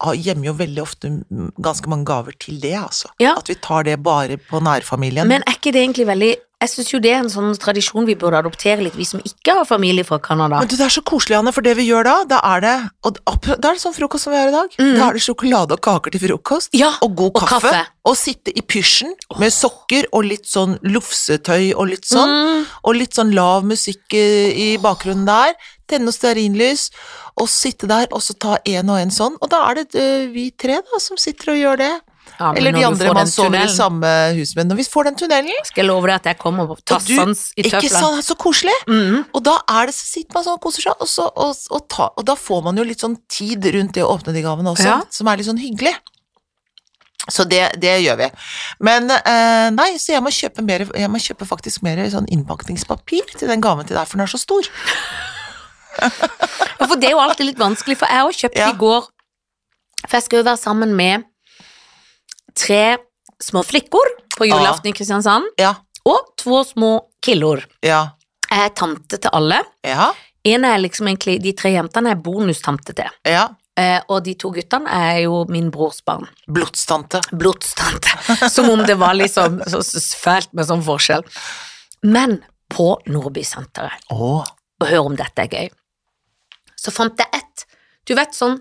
Speaker 1: har- gjemmer jo veldig ofte mm, ganske mange gaver til det, altså.
Speaker 2: Ja.
Speaker 1: At vi tar det bare på nærfamilien.
Speaker 2: Men er ikke det egentlig veldig Jeg syns jo det er en sånn tradisjon vi burde adoptere litt, vi som ikke har familie fra Canada.
Speaker 1: Men du, Det er så koselig, Anne, for det vi gjør da, da er det og, da er det sånn frokost som vi har i dag.
Speaker 2: Mm.
Speaker 1: Da er det sjokolade og kaker til frokost.
Speaker 2: Ja,
Speaker 1: og god
Speaker 2: og
Speaker 1: kaffe.
Speaker 2: kaffe.
Speaker 1: Og sitte i pysjen med sokker og litt sånn lufsetøy og litt sånn.
Speaker 2: Mm.
Speaker 1: Og litt sånn lav musikk eh, i bakgrunnen der. Tenne noe stearinlys, og sitte der, og så ta en og en sånn. Og da er det eh, vi tre da som sitter og gjør det.
Speaker 2: Ja, men
Speaker 1: Eller
Speaker 2: når
Speaker 1: de
Speaker 2: du
Speaker 1: andre
Speaker 2: får
Speaker 1: man
Speaker 2: den
Speaker 1: sover i
Speaker 2: tunnelen,
Speaker 1: samme hus med. Når vi får den tunnelen,
Speaker 2: Skal jeg love deg at jeg kommer på
Speaker 1: og du,
Speaker 2: tassans i
Speaker 1: ikke
Speaker 2: tøflene.
Speaker 1: sånn, så koselig.
Speaker 2: Mm.
Speaker 1: Og da er det, så sitter man sånn og koser seg, og, så, og, og, ta, og da får man jo litt sånn tid rundt det å åpne de gavene også,
Speaker 2: Ja.
Speaker 1: som er litt sånn hyggelig. Så det, det gjør vi. Men eh, nei, så jeg må kjøpe, mer, jeg må kjøpe faktisk mer sånn innpakningspapir til den gaven til deg, for den er så stor.
Speaker 2: Ja, for det er jo alltid litt vanskelig, for jeg har kjøpt
Speaker 1: Ja.
Speaker 2: i går For jeg skal jo være sammen med tre små flikker på julaften i Kristiansand,
Speaker 1: Ja,
Speaker 2: og to små killor.
Speaker 1: ja,
Speaker 2: Jeg er tante til alle.
Speaker 1: ja,
Speaker 2: En er liksom egentlig, De tre jentene er bonustante til,
Speaker 1: ja.
Speaker 2: eh, og de to guttene er jo min brors barn.
Speaker 1: Blodstante.
Speaker 2: blodstante. [laughs] Som om det var liksom så så fælt med sånn forskjell. Men på Nordbysenteret,
Speaker 1: Å,
Speaker 2: og hør om dette er gøy, så fant jeg ett. Du vet sånn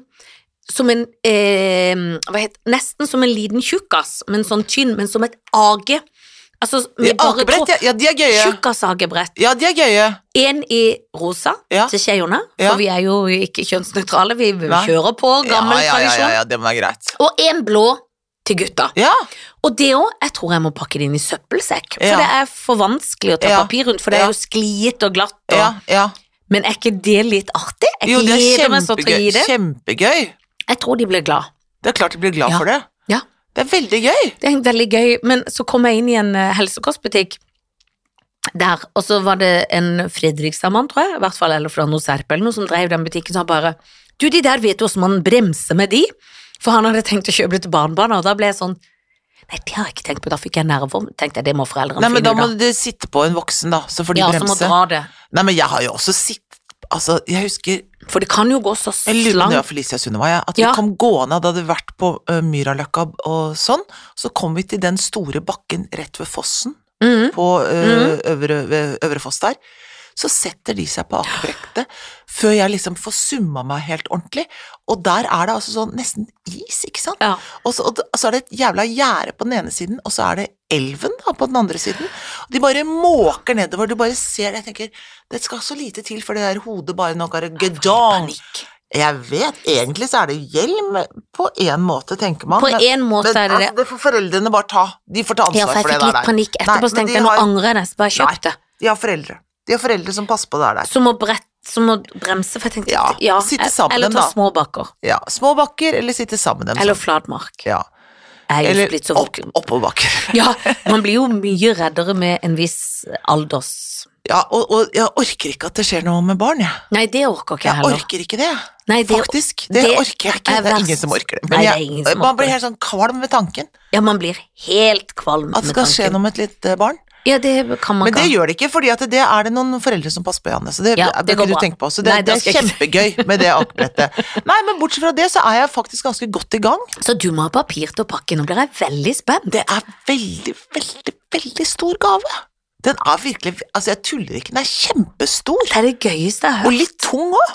Speaker 2: som en eh, hva het, Nesten som en liten tjukkas, men sånn tynn, men som et age. Altså
Speaker 1: de
Speaker 2: med bare
Speaker 1: akebrett,
Speaker 2: tå.
Speaker 1: ja, ja, de er gøye.
Speaker 2: Tjukkasagebrett.
Speaker 1: Ja, de er gøye.
Speaker 2: Én i rosa
Speaker 1: Ja.
Speaker 2: til skjeene, for
Speaker 1: Ja.
Speaker 2: vi er jo ikke kjønnsnøytrale, vi
Speaker 1: Nei.
Speaker 2: kjører på gammel
Speaker 1: ja, ja, ja, ja,
Speaker 2: tradisjon.
Speaker 1: ja, det må være greit.
Speaker 2: Og én blå til gutta.
Speaker 1: Ja,
Speaker 2: Og det òg, jeg tror jeg må pakke det inn i søppelsekk. For
Speaker 1: Ja.
Speaker 2: det er for vanskelig å ta
Speaker 1: Ja.
Speaker 2: papir rundt, for det er
Speaker 1: Ja.
Speaker 2: jo skliet og glatt. Og,
Speaker 1: ja, ja.
Speaker 2: Men er ikke det litt artig? Jeg
Speaker 1: Jo, det
Speaker 2: gleder
Speaker 1: er
Speaker 2: meg så til å gi
Speaker 1: kjempegøy.
Speaker 2: det.
Speaker 1: Kjempegøy.
Speaker 2: Jeg tror de blir glad.
Speaker 1: Det er klart de blir glad
Speaker 2: Ja.
Speaker 1: for det.
Speaker 2: Ja.
Speaker 1: Det er veldig gøy.
Speaker 2: Det er veldig gøy. Men så kom jeg inn i en eh, helsekostbutikk der, og så var det en Fredrikstad-mann, tror jeg, i hvert fall, eller fra noe Serp eller noe, som drev den butikken, så han bare Du, de der vet jo åssen man bremser med de. For han hadde tenkt å kjøpe det til barnebarna, og da ble jeg sånn Nei, det har jeg ikke tenkt på, da fikk jeg nerver. Tenkte jeg, det må foreldrene
Speaker 1: Nei, men
Speaker 2: finne
Speaker 1: da
Speaker 2: ut
Speaker 1: må
Speaker 2: av.
Speaker 1: du sitte på en voksen, da, så får de
Speaker 2: Ja, så må
Speaker 1: bremse.
Speaker 2: dra det.
Speaker 1: Nei, men jeg har jo også sitt... Altså, jeg husker
Speaker 2: For det kan jo gå så
Speaker 1: Jeg lurer på om det var
Speaker 2: slankt.
Speaker 1: Felicia Sundeva, jeg. At
Speaker 2: Ja.
Speaker 1: vi kom gående, da hadde vi vært på uh, Myraløkka og sånn. Så kom vi til den store bakken rett ved fossen,
Speaker 2: Mhm.
Speaker 1: på uh, Øvre, ved Øvre Foss der. Så setter de seg på akebrettet før jeg liksom får summa meg helt ordentlig. Og der er det altså sånn nesten is, ikke sant?
Speaker 2: Ja.
Speaker 1: Og så, og d- så er det et jævla gjerde på den ene siden, og så er det elven da, på den andre siden. Og de bare måker nedover, du bare ser det. Jeg tenker, det skal så lite til for det der hodet bare nok er gedong.
Speaker 2: Panikk.
Speaker 1: Jeg vet, egentlig så er det hjelm på en måte, tenker man.
Speaker 2: På
Speaker 1: men-
Speaker 2: en måte
Speaker 1: men,
Speaker 2: er det det.
Speaker 1: altså, det får foreldrene bare ta. De får ta ansvar
Speaker 2: Ja, for jeg
Speaker 1: for det
Speaker 2: fikk
Speaker 1: der.
Speaker 2: litt panikk etterpå,
Speaker 1: Nei,
Speaker 2: så
Speaker 1: men
Speaker 2: tenkte
Speaker 1: de
Speaker 2: jeg nå
Speaker 1: har-
Speaker 2: angrer jeg nesten bare jeg
Speaker 1: Nei.
Speaker 2: kjøpte.
Speaker 1: De har foreldre. De har foreldre som passer på det der.
Speaker 2: Som å brette, som å bremse, for jeg tenkte
Speaker 1: Ja,
Speaker 2: ja.
Speaker 1: sitte sammen,
Speaker 2: Eller ta
Speaker 1: da.
Speaker 2: småbaker.
Speaker 1: Ja, små bakker, eller sitte sammen dem.
Speaker 2: Eller
Speaker 1: sånn.
Speaker 2: flatmark.
Speaker 1: Ja.
Speaker 2: er jo
Speaker 1: Eller
Speaker 2: splitt så
Speaker 1: opp,
Speaker 2: fort.
Speaker 1: oppoverbakker.
Speaker 2: Ja, man blir jo mye reddere med en viss alders...
Speaker 1: Ja, og, og jeg orker ikke at det skjer noe med barn, jeg.
Speaker 2: Nei, det orker ikke jeg
Speaker 1: Jeg
Speaker 2: heller.
Speaker 1: orker ikke det, jeg.
Speaker 2: Nei, det,
Speaker 1: faktisk. Det,
Speaker 2: det
Speaker 1: orker jeg ikke.
Speaker 2: er
Speaker 1: Det er
Speaker 2: verst.
Speaker 1: ingen som orker det.
Speaker 2: Nei,
Speaker 1: Men
Speaker 2: det er
Speaker 1: jeg,
Speaker 2: ingen som
Speaker 1: man
Speaker 2: orker
Speaker 1: blir
Speaker 2: det.
Speaker 1: helt sånn kvalm ved tanken
Speaker 2: ja, man blir helt kvalm
Speaker 1: at det
Speaker 2: med
Speaker 1: skal skje
Speaker 2: tanken.
Speaker 1: noe med et lite barn.
Speaker 2: Ja, det kan man
Speaker 1: Men det
Speaker 2: ikke.
Speaker 1: gjør det ikke, fordi at det er det noen foreldre som passer på Janne. Så det
Speaker 2: Ja,
Speaker 1: bør
Speaker 2: det går
Speaker 1: ikke du
Speaker 2: bra.
Speaker 1: tenke på. Så det,
Speaker 2: Nei, da
Speaker 1: det er
Speaker 2: skal jeg ikke-
Speaker 1: kjempegøy med det
Speaker 2: [laughs]
Speaker 1: akebrettet. Nei, men bortsett fra det, så er jeg faktisk ganske godt i gang.
Speaker 2: Så du må ha papir til å pakke, nå blir jeg veldig spent.
Speaker 1: Det er veldig, veldig, veldig stor gave. Den er virkelig Altså, jeg tuller ikke, den er kjempestor.
Speaker 2: Det er det gøyeste jeg har
Speaker 1: Og
Speaker 2: hørt.
Speaker 1: litt tung òg.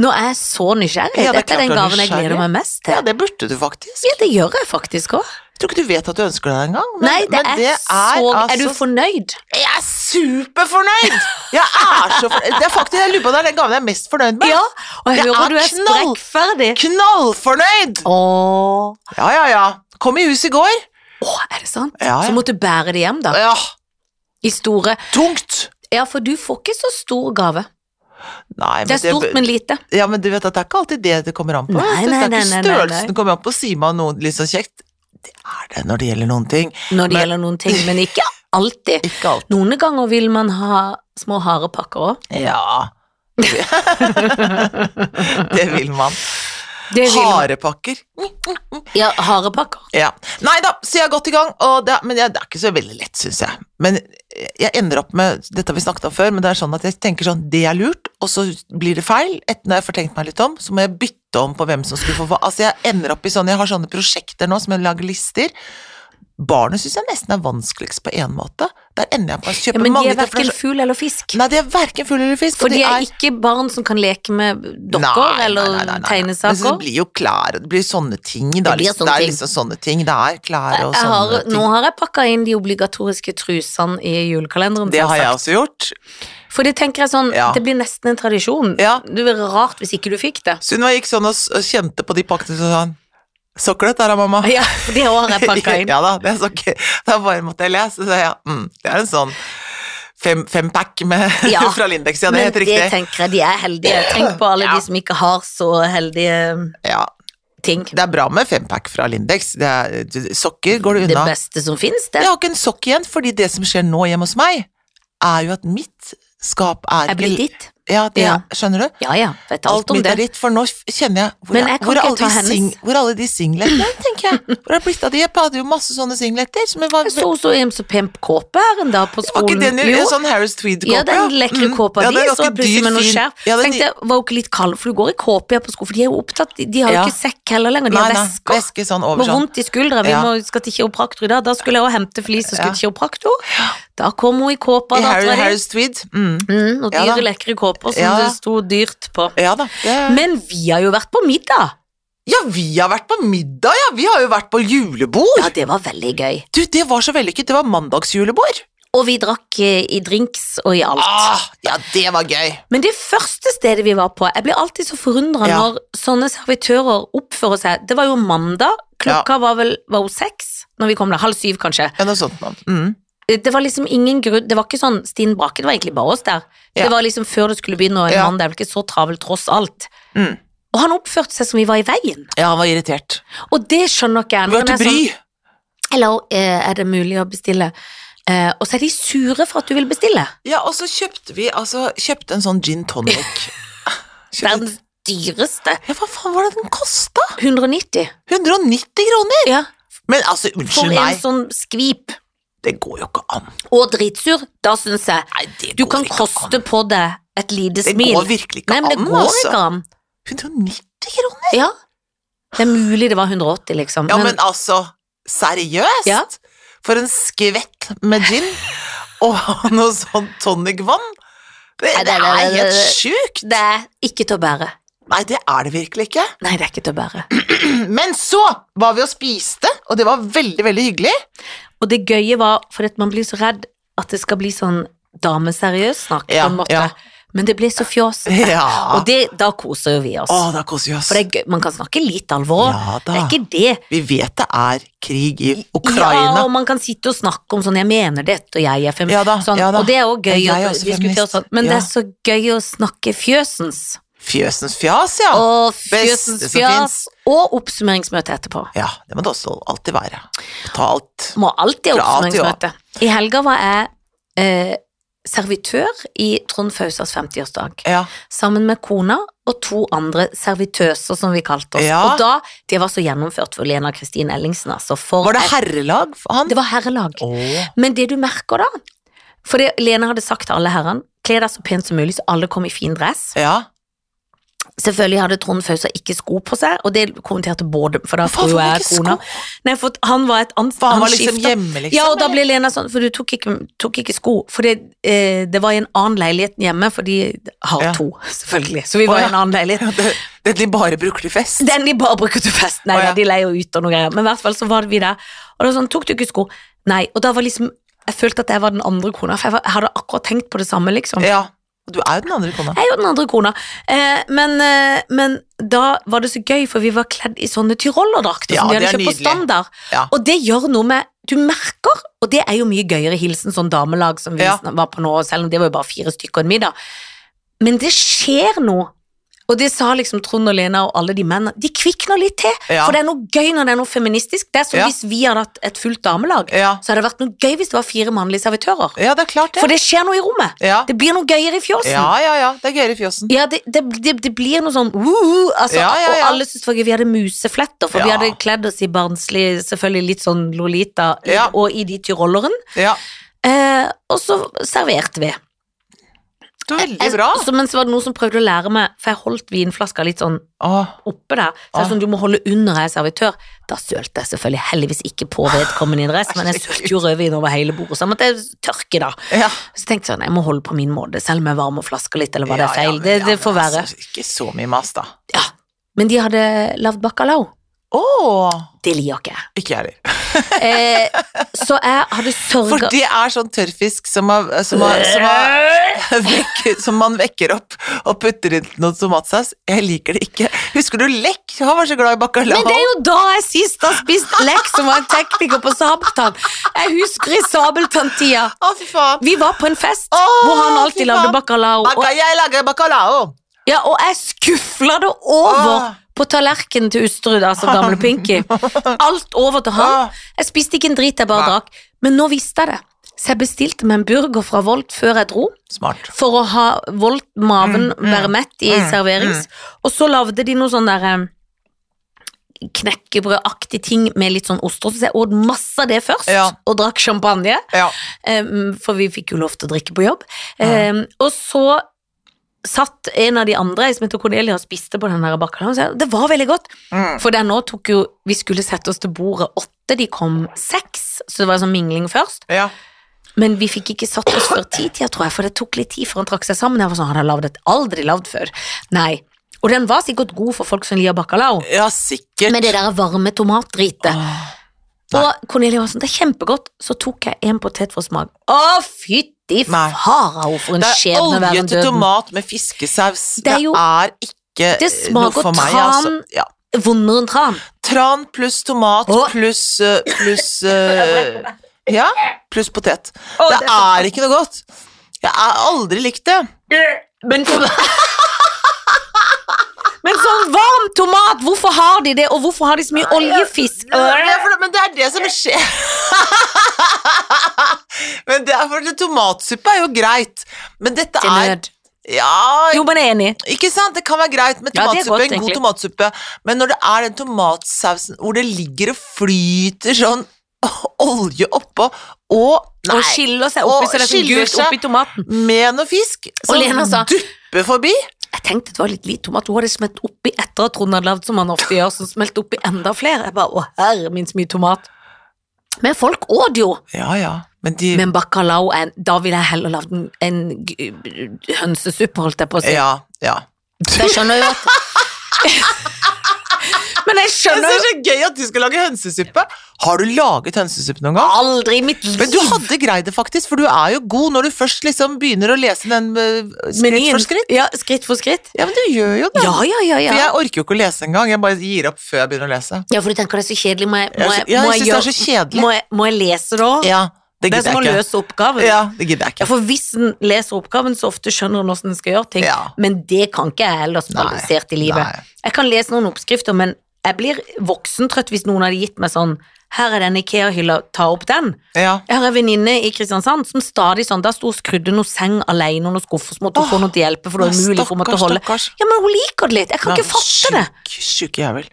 Speaker 2: Nå er jeg så nysgjerrig.
Speaker 1: Ja, det er
Speaker 2: Dette er
Speaker 1: klart
Speaker 2: den
Speaker 1: du er
Speaker 2: gaven jeg gleder
Speaker 1: nysgjerrig.
Speaker 2: meg mest
Speaker 1: Ja,
Speaker 2: til.
Speaker 1: det burde du faktisk.
Speaker 2: Ja, det gjør jeg faktisk òg.
Speaker 1: Jeg tror ikke du vet at du ønsker deg det engang. men-
Speaker 2: Nei, det
Speaker 1: men
Speaker 2: er så Er du
Speaker 1: altså-
Speaker 2: fornøyd?
Speaker 1: Jeg er superfornøyd! Jeg er så fornøyd. Det er faktisk, jeg lurer på om det er den gaven jeg er mest fornøyd med.
Speaker 2: Ja, og jeg
Speaker 1: Det
Speaker 2: hører
Speaker 1: er
Speaker 2: du er
Speaker 1: knall.
Speaker 2: sprekkferdig.
Speaker 1: Knallfornøyd!
Speaker 2: Åh,
Speaker 1: Ja, ja, ja. Kom i hus i går.
Speaker 2: Åh, er det sant?
Speaker 1: Ja, ja.
Speaker 2: Så måtte du bære det hjem, da.
Speaker 1: Ja,
Speaker 2: I store
Speaker 1: tungt.
Speaker 2: Ja, for du får ikke så stor gave.
Speaker 1: Nei, men
Speaker 2: Det er stort, men lite.
Speaker 1: Ja, men du vet at det er ikke alltid det det kommer an på.
Speaker 2: Nei,
Speaker 1: vet du.
Speaker 2: nei,
Speaker 1: det er
Speaker 2: nei, nei,
Speaker 1: ikke
Speaker 2: nei,
Speaker 1: størrelsen
Speaker 2: nei.
Speaker 1: det kommer an på. Sier man noe litt så kjekt, det er det når det gjelder noen ting.
Speaker 2: når
Speaker 1: Men-
Speaker 2: det gjelder noen ting, men ikke alltid.
Speaker 1: Ikke alt.
Speaker 2: Noen ganger vil man ha små harepakker òg. [laughs]
Speaker 1: Ja. det vil man. Harepakker.
Speaker 2: Ja, harepakker.
Speaker 1: Ja. Nei da, så jeg er godt i gang, og det, men jeg, det er ikke så veldig lett, syns jeg. Men jeg ender opp med Dette har vi snakket om før, men det er sånn at jeg tenker sånn Det er lurt, og så blir det feil. Etter når jeg får tenkt meg litt om, så må jeg bytte om på hvem som skulle få hva. Altså, jeg ender opp i sånn Jeg har sånne prosjekter nå som jeg lager lister. Barnet syns jeg nesten er vanskeligst på én måte. Der ender jeg på å
Speaker 2: Ja,
Speaker 1: kjøpe
Speaker 2: men de
Speaker 1: mange
Speaker 2: er verken fugl eller fisk.
Speaker 1: Nei, de er verken fugl eller fisk. og
Speaker 2: For de
Speaker 1: de
Speaker 2: er ikke barn som kan leke med
Speaker 1: Nei,
Speaker 2: dokker
Speaker 1: nei,
Speaker 2: eller
Speaker 1: nei, nei, nei. Men så det
Speaker 2: tegnesaker.
Speaker 1: blir jo klær, og det blir sånne ting. Da.
Speaker 2: Det blir sånne
Speaker 1: det er
Speaker 2: ting.
Speaker 1: liksom sånne ting. Det er klær og
Speaker 2: Jeg
Speaker 1: sånne
Speaker 2: har,
Speaker 1: ting.
Speaker 2: nå har jeg pakka inn de obligatoriske trusene i julekalenderen.
Speaker 1: Det har jeg
Speaker 2: selvsagt.
Speaker 1: også gjort.
Speaker 2: For det tenker jeg sånn,
Speaker 1: Ja.
Speaker 2: det blir nesten en tradisjon.
Speaker 1: Ja.
Speaker 2: Det blir rart hvis ikke du fikk
Speaker 1: [laughs]
Speaker 2: det.
Speaker 1: Sunniva gikk sånn og s- og kjente på de pakkene og sånn Sokker dette her, da, mamma.
Speaker 2: Ja, for det har jeg pakka inn.
Speaker 1: [laughs] ja da, det er sokker. Da bare måtte jeg le, så sa jeg mm, det er en sånn fem, fempack med [laughs]
Speaker 2: Ja,
Speaker 1: fra Lindex, ja, det
Speaker 2: Men
Speaker 1: er
Speaker 2: det
Speaker 1: helt riktig.
Speaker 2: tenker jeg, de er heldige. Tenk på alle
Speaker 1: [laughs] Ja.
Speaker 2: de som ikke har så heldige
Speaker 1: Ja,
Speaker 2: ting.
Speaker 1: det er bra med fempack fra Lindex. Det er, du- sokker går det
Speaker 2: Det
Speaker 1: unna.
Speaker 2: beste som finnes, det.
Speaker 1: jeg har ikke en sokk igjen, fordi det som skjer nå hjemme hos meg, er jo at mitt skap er
Speaker 2: Jeg blir ditt.
Speaker 1: Ja, det,
Speaker 2: Ja.
Speaker 1: skjønner du?
Speaker 2: Ja, ja, vet alt,
Speaker 1: Alt
Speaker 2: om
Speaker 1: mitt
Speaker 2: det.
Speaker 1: er ditt, for nå f- kjenner jeg Hvor,
Speaker 2: Men
Speaker 1: er,
Speaker 2: jeg kan
Speaker 1: hvor, er,
Speaker 2: ikke
Speaker 1: alle
Speaker 2: ta
Speaker 1: de
Speaker 2: hennes.
Speaker 1: sing, hvor er alle de singletene, tenker jeg? Hvor er det blitt av de? Jeg hadde jo masse sånne singleter. Som jeg var,
Speaker 2: Jeg så så en så pen kåpe her en dag på
Speaker 1: var
Speaker 2: skolen.
Speaker 1: ikke den jo
Speaker 2: sånn Jo.
Speaker 1: sånn Harris Mm. Tweed-kåpe?
Speaker 2: Ja, den lekre kåpa di, så plutselig med noe skjerf.
Speaker 1: Ja, den,
Speaker 2: Tenkte jeg, var jo ikke litt kald, for du går i kåpe her på skolen, for de er jo opptatt, de- de har jo
Speaker 1: Ja.
Speaker 2: ikke sekk heller lenger, de
Speaker 1: nei,
Speaker 2: har
Speaker 1: nei,
Speaker 2: vesker.
Speaker 1: veske sånn
Speaker 2: Må
Speaker 1: over sånn.
Speaker 2: vondt i skuldra, vi
Speaker 1: Ja.
Speaker 2: må, skal til kiropraktor i dag. Da skulle jeg også hente flis og skulle
Speaker 1: Ja.
Speaker 2: til kiropraktor. Da kom hun i kåpa,
Speaker 1: I
Speaker 2: da
Speaker 1: Harry,
Speaker 2: tror jeg.
Speaker 1: Harris Tweed. Mm.
Speaker 2: Mm, og
Speaker 1: Ja
Speaker 2: dyre
Speaker 1: da.
Speaker 2: lekre kåper som
Speaker 1: Ja.
Speaker 2: det sto dyrt på.
Speaker 1: Ja da. Det.
Speaker 2: Men vi har jo vært på middag.
Speaker 1: Ja, vi har vært på middag, ja! Vi har jo vært på julebord!
Speaker 2: Ja, det var veldig gøy.
Speaker 1: Du, det var så vellykket. Det var mandagsjulebord.
Speaker 2: Og vi drakk eh, i drinks og i alt.
Speaker 1: Ah, ja, det var gøy.
Speaker 2: Men det første stedet vi var på Jeg blir alltid så forundra
Speaker 1: Ja.
Speaker 2: når sånne servitører oppfører seg. Det var jo mandag, klokka var vel var hun seks når vi kom der? Halv syv, kanskje.
Speaker 1: Ja, noe sånt noe. Mm.
Speaker 2: Det var liksom ingen grunn Det var ikke sånn Stine Brake, det var egentlig bare oss der.
Speaker 1: Ja.
Speaker 2: Det var liksom før det skulle begynne, og en
Speaker 1: Ja.
Speaker 2: mann det er vel ikke så travel tross alt.
Speaker 1: Mm.
Speaker 2: Og han oppførte seg som vi var i veien,
Speaker 1: Ja, han var irritert.
Speaker 2: og det skjønner ikke jeg.
Speaker 1: Vi var
Speaker 2: Når
Speaker 1: til
Speaker 2: jeg er
Speaker 1: bry.
Speaker 2: sånn, Eller eh, er det mulig å bestille? Eh, og så er de sure for at du vil bestille.
Speaker 1: Ja, og så kjøpte vi altså, kjøpte en sånn gin [laughs] tonic. Kjøpte-
Speaker 2: Verdens dyreste.
Speaker 1: ja, hva faen var det den kosta?
Speaker 2: 190.
Speaker 1: 190 kroner!
Speaker 2: Ja,
Speaker 1: Men altså,
Speaker 2: for
Speaker 1: Eh, unnskyld
Speaker 2: en
Speaker 1: meg,
Speaker 2: sånn skvip.
Speaker 1: det går jo ikke an.
Speaker 2: og dritsur, da syns jeg
Speaker 1: Nei, det
Speaker 2: du
Speaker 1: går
Speaker 2: kan
Speaker 1: ikke
Speaker 2: koste
Speaker 1: an.
Speaker 2: på deg et lite
Speaker 1: Det
Speaker 2: smil.
Speaker 1: går virkelig ikke
Speaker 2: Nei, men det
Speaker 1: an,
Speaker 2: går
Speaker 1: altså.
Speaker 2: ikke an.
Speaker 1: 190 kroner?
Speaker 2: Ja. Det er mulig det var 180, liksom.
Speaker 1: Ja, men altså, seriøst?
Speaker 2: Ja.
Speaker 1: For en skvett med [laughs] gin og noe sånn tonicvann? Det, det
Speaker 2: Nei, det-
Speaker 1: er
Speaker 2: det- det-
Speaker 1: helt
Speaker 2: det-
Speaker 1: sjukt!
Speaker 2: det er ikke til å bære.
Speaker 1: Nei, det er det virkelig ikke. [clears throat]
Speaker 2: Nei, det er ikke til å bære.
Speaker 1: Men så var vi og spiste, og det var veldig, veldig hyggelig.
Speaker 2: Og det gøye var, for at man blir så redd at det skal bli sånn dameseriøs snakk,
Speaker 1: Ja,
Speaker 2: på en måte.
Speaker 1: ja.
Speaker 2: Men det ble så fjås.
Speaker 1: Ja.
Speaker 2: Og det, da koser jo vi oss.
Speaker 1: Å, da koser vi oss.
Speaker 2: For det er gøy. man kan snakke litt alvor.
Speaker 1: Ja da.
Speaker 2: det er ikke det.
Speaker 1: Vi vet det er krig i
Speaker 2: Ja,
Speaker 1: Ukraina.
Speaker 2: og man kan sitte og snakke om sånn 'jeg mener dette', og 'jeg er feminist'.
Speaker 1: Ja da,
Speaker 2: sånn.
Speaker 1: ja da.
Speaker 2: Og det er også gøy
Speaker 1: Jeg er
Speaker 2: å
Speaker 1: også
Speaker 2: diskutere
Speaker 1: feminist.
Speaker 2: sånn, men
Speaker 1: Ja.
Speaker 2: det er så gøy å snakke fjøsens.
Speaker 1: Fjøsens fjas, ja.
Speaker 2: Og
Speaker 1: Beste
Speaker 2: fjøsens
Speaker 1: som
Speaker 2: fjas og oppsummeringsmøte etterpå.
Speaker 1: Ja, det må det også alltid være. Ta alt.
Speaker 2: Må alltid ha
Speaker 1: Fra A til Å.
Speaker 2: oppsummeringsmøte. I helga var jeg eh, servitør i Trond Fausas 50-årsdag.
Speaker 1: Ja.
Speaker 2: Sammen med kona og to andre servitøser, som vi kalte oss.
Speaker 1: Ja.
Speaker 2: Og da, Det var så gjennomført for Lena Kristin Ellingsen, altså. For
Speaker 1: Var det
Speaker 2: et-
Speaker 1: herrelag for han?
Speaker 2: det var herrelag.
Speaker 1: Åh.
Speaker 2: Men det du merker da For det Lene hadde sagt til alle herrene Kle deg så pent som mulig, så alle kom i fin dress.
Speaker 1: Ja.
Speaker 2: Selvfølgelig hadde Trond Fausa ikke sko på seg, og det kommenterte både For da
Speaker 1: Hvorfor hadde
Speaker 2: tror
Speaker 1: han
Speaker 2: jeg
Speaker 1: ikke
Speaker 2: kona Nei, for han var et annet
Speaker 1: For han, var liksom
Speaker 2: skiftet-
Speaker 1: hjemme, liksom?
Speaker 2: Ja, og da
Speaker 1: eller?
Speaker 2: ble Lena sånn For du tok ikke, tok ikke sko. For det, eh, det var i en annen leilighet hjemme, for de har
Speaker 1: Ja.
Speaker 2: to, [laughs] selvfølgelig. Så vi var
Speaker 1: Å,
Speaker 2: i
Speaker 1: ja.
Speaker 2: en annen leilighet.
Speaker 1: [laughs] Ja, det, det de bare bruker til fest?
Speaker 2: Den de bare bruker til fest. Nei,
Speaker 1: Å, ja.
Speaker 2: nei, de leier jo ut og noe greier. Men i hvert fall så var vi der. Og det var sånn, tok du ikke sko? Nei. Og da var liksom Jeg følte at jeg var den andre kona, for jeg, var, jeg hadde akkurat tenkt på det samme, liksom.
Speaker 1: Ja. Og Du er jo den andre kona.
Speaker 2: Jeg er jo den andre kona. Eh, men, eh, men da var det så gøy, for vi var kledd i sånne tyrollerdrakter
Speaker 1: Ja,
Speaker 2: som de
Speaker 1: det
Speaker 2: hadde
Speaker 1: er
Speaker 2: kjøpt på
Speaker 1: nydelig.
Speaker 2: standard.
Speaker 1: Ja.
Speaker 2: Og det gjør noe med Du merker, og det er jo mye gøyere hilsen sånn damelag som vi
Speaker 1: Ja.
Speaker 2: sn- var på nå, selv om det var jo bare fire stykker og en middag. Men det skjer noe. Og det sa liksom Trond og Lena og alle de mennene. De kvikner litt til,
Speaker 1: Ja.
Speaker 2: for det er noe gøy når det er noe feministisk. Det er som
Speaker 1: Ja.
Speaker 2: hvis vi hadde hatt et fullt damelag,
Speaker 1: Ja.
Speaker 2: så hadde det vært noe gøy hvis det var fire mannlige servitører.
Speaker 1: ja, det er klart det.
Speaker 2: For det skjer noe i rommet.
Speaker 1: ja.
Speaker 2: Det sånn. blir noe gøyere i fjåsen.
Speaker 1: ja, ja, ja. Det er gøyere i fjøsen.
Speaker 2: Ja, det, det, det, det blir noe sånn «Woo-hoo», altså,
Speaker 1: Ja, ja, ja.
Speaker 2: Og alle syntes faktisk vi hadde musefletter, for vi
Speaker 1: Ja.
Speaker 2: hadde kledd oss i barnslig, selvfølgelig litt sånn Lolita, i-
Speaker 1: Ja.
Speaker 2: og i de tyrolleren.
Speaker 1: Ja.
Speaker 2: Eh, og så serverte vi.
Speaker 1: Det var veldig
Speaker 2: Jeg-
Speaker 1: bra.
Speaker 2: Så, men så var det noen som prøvde å lære meg, for jeg holdt vinflaska litt sånn
Speaker 1: Åh.
Speaker 2: oppe der. Så jeg
Speaker 1: Ah.
Speaker 2: sånn, du må holde under jeg er servitør. Da sølte jeg selvfølgelig heldigvis ikke på vedkommende i dress, men jeg sølte jo rødvin over hele bordet, så jeg måtte tørke da.
Speaker 1: Ja.
Speaker 2: Så tenkte jeg sånn, jeg må holde på min måte, selv om jeg varmer flaska litt, eller var
Speaker 1: Ja,
Speaker 2: det
Speaker 1: ja,
Speaker 2: feil?
Speaker 1: men-
Speaker 2: det,
Speaker 1: ja,
Speaker 2: det
Speaker 1: men
Speaker 2: får være.
Speaker 1: altså, Ikke så mye mas, da.
Speaker 2: Ja, men de hadde lagd bacalao.
Speaker 1: Åh.
Speaker 2: Det liker ikke jeg.
Speaker 1: Ikke jeg heller.
Speaker 2: Eh, så jeg hadde
Speaker 1: For
Speaker 2: sørga
Speaker 1: det er sånn tørrfisk som, har, som, har, som, har,
Speaker 2: Eh,
Speaker 1: [laughs] vekker, som man vekker opp og putter inn noe tomatsaus. Jeg liker det ikke. Husker du Lekk? Han var så glad i bacalao.
Speaker 2: Men det er jo da jeg sist har spist lekk, som var en tekniker på Sabeltann. Jeg husker i Sabeltann-tida.
Speaker 1: Å, fy faen.
Speaker 2: Vi var på en fest
Speaker 1: Å,
Speaker 2: hvor han
Speaker 1: fy
Speaker 2: alltid lagde
Speaker 1: faen.
Speaker 2: bacalao. Og,
Speaker 1: Baka, jeg lager bacalao!
Speaker 2: ja, og jeg skufla det over
Speaker 1: Å.
Speaker 2: på tallerkenen til Usterud, altså gamle
Speaker 1: [laughs]
Speaker 2: Pinky. Alt over til
Speaker 1: Å.
Speaker 2: han. Jeg spiste ikke en drit, jeg bare
Speaker 1: Ah. Nei.
Speaker 2: drakk. Men nå visste jeg det. Så jeg bestilte meg en burger fra Volt før jeg dro.
Speaker 1: Smart.
Speaker 2: for å ha voldt maven
Speaker 1: Mm, mm,
Speaker 2: være mett i
Speaker 1: mm,
Speaker 2: serverings. Og så lagde de noe sånn der eh, knekkebrødaktig ting med litt sånn ost. og Så jeg åt masse av det først,
Speaker 1: Ja.
Speaker 2: og drakk champagne,
Speaker 1: Ja.
Speaker 2: eh, for vi fikk jo lov til å drikke på jobb. Eh, Og så satt en av de andre som heter Cornelia og spiste på den der bacalaoen. og sa, Det var veldig godt.
Speaker 1: Mm.
Speaker 2: For der nå tok jo Vi skulle sette oss til bordet åtte, de kom seks, så det var sånn mingling først.
Speaker 1: ja.
Speaker 2: Men vi fikk ikke satt oss før titida, tror jeg, for det tok litt tid før han trakk seg sammen. Jeg var sånn, han har lavd et aldri lavd før. Nei. Og den var sikkert god for folk som liker bacalao,
Speaker 1: Ja, sikkert.
Speaker 2: med det der varme tomatdritet.
Speaker 1: Åh. nei.
Speaker 2: Og Cornelia var sånn, det er kjempegodt. Så tok jeg en potet for smak. Å, fytti
Speaker 1: Nei.
Speaker 2: farao, for en
Speaker 1: Det er
Speaker 2: skjebne
Speaker 1: olje
Speaker 2: verden
Speaker 1: til
Speaker 2: døden.
Speaker 1: tomat med fiskesaus.
Speaker 2: Det
Speaker 1: Det
Speaker 2: er
Speaker 1: er,
Speaker 2: jo-
Speaker 1: ikke
Speaker 2: Det
Speaker 1: eh, noe
Speaker 2: smaker
Speaker 1: for meg,
Speaker 2: tran.
Speaker 1: altså. Ja.
Speaker 2: Vondere enn tran.
Speaker 1: Tran pluss tomat
Speaker 2: Åh.
Speaker 1: pluss eh, pluss eh, Ja, pluss potet.
Speaker 2: Åh,
Speaker 1: det,
Speaker 2: det er så
Speaker 1: er ikke noe godt. Jeg har aldri likt det.
Speaker 2: Men, [laughs] Men sånn varm tomat, hvorfor har de det, og hvorfor har de så mye oljefisk?
Speaker 1: Men for- Men det er det som skjer. [laughs] men det er for det, Tomatsuppe er jo greit, men dette
Speaker 2: Til
Speaker 1: er
Speaker 2: nød.
Speaker 1: Ja,
Speaker 2: Jo, men jeg er enig.
Speaker 1: ikke sant? Det kan være greit med
Speaker 2: Ja, det er
Speaker 1: tomatsuppe,
Speaker 2: godt,
Speaker 1: en god
Speaker 2: egentlig.
Speaker 1: tomatsuppe, men når det er den tomatsausen hvor det ligger og flyter sånn [laughs] olje oppå, og
Speaker 2: og skiller seg oppi,
Speaker 1: Og
Speaker 2: så det er sånn
Speaker 1: skiller
Speaker 2: gult
Speaker 1: seg.
Speaker 2: oppi tomaten.
Speaker 1: med noe fisk som
Speaker 2: Lena sa-
Speaker 1: dupper forbi.
Speaker 2: Jeg tenkte det var litt lite tomat, hun hadde smelt oppi etter at Trond hadde lagd som han ofte gjør, så smelt oppi enda flere. Jeg bare, å herre min så mye tomat. Men folk åt jo.
Speaker 1: Ja, ja, men de
Speaker 2: Men bacalao, er- da ville jeg heller lagd en, en g- hønsesuppe, holdt jeg på å si.
Speaker 1: Ja, ja.
Speaker 2: For Jeg skjønner jo at [laughs] Men jeg
Speaker 1: Jeg
Speaker 2: skjønner
Speaker 1: synes det er
Speaker 2: jo
Speaker 1: så gøy at du skal lage hønsesuppe. Har du laget hønsesuppe noen gang?
Speaker 2: aldri i mitt liv.
Speaker 1: Men du hadde greid det faktisk, for du er jo god når du først liksom begynner å lese den eh, skritt
Speaker 2: Menyen.
Speaker 1: for skritt.
Speaker 2: Ja, skritt for skritt.
Speaker 1: Ja, men du gjør jo det.
Speaker 2: Ja, ja, ja, ja.
Speaker 1: For jeg orker jo ikke å lese engang, jeg bare gir opp før jeg begynner å lese.
Speaker 2: Ja, for du tenker det er så kjedelig, må jeg, må
Speaker 1: Jeg
Speaker 2: jeg,
Speaker 1: sy- ja,
Speaker 2: må
Speaker 1: jeg
Speaker 2: jeg,
Speaker 1: synes det er
Speaker 2: gjøre-
Speaker 1: så kjedelig.
Speaker 2: Må jeg, må jeg lese da?
Speaker 1: Ja, Det
Speaker 2: Det er
Speaker 1: gidder
Speaker 2: som å
Speaker 1: jeg ikke.
Speaker 2: løse oppgaven.
Speaker 1: Ja, det gidder jeg
Speaker 2: Ja,
Speaker 1: ikke.
Speaker 2: for hvis en leser oppgaven, så ofte skjønner en hvordan en skal gjøre ting.
Speaker 1: Ja.
Speaker 2: Men det kan ikke jeg ellers
Speaker 1: Nei,
Speaker 2: realisert i livet.
Speaker 1: nei.
Speaker 2: Jeg kan lese noen oppskrifter, men jeg blir voksentrøtt hvis noen hadde gitt meg sånn Her er den Ikea-hylla, ta opp den.
Speaker 1: Ja.
Speaker 2: Jeg har en venninne i Kristiansand som stadig sånn Da sto og skrudde noe seng alene og noen skuffer, så måtte hun
Speaker 1: Åh,
Speaker 2: få noe til hjelp, for det var umulig for henne å holde
Speaker 1: stakkars.
Speaker 2: Ja, men hun liker det litt. Jeg kan ikke fatte det.
Speaker 1: Sjuk, sjuk jævel.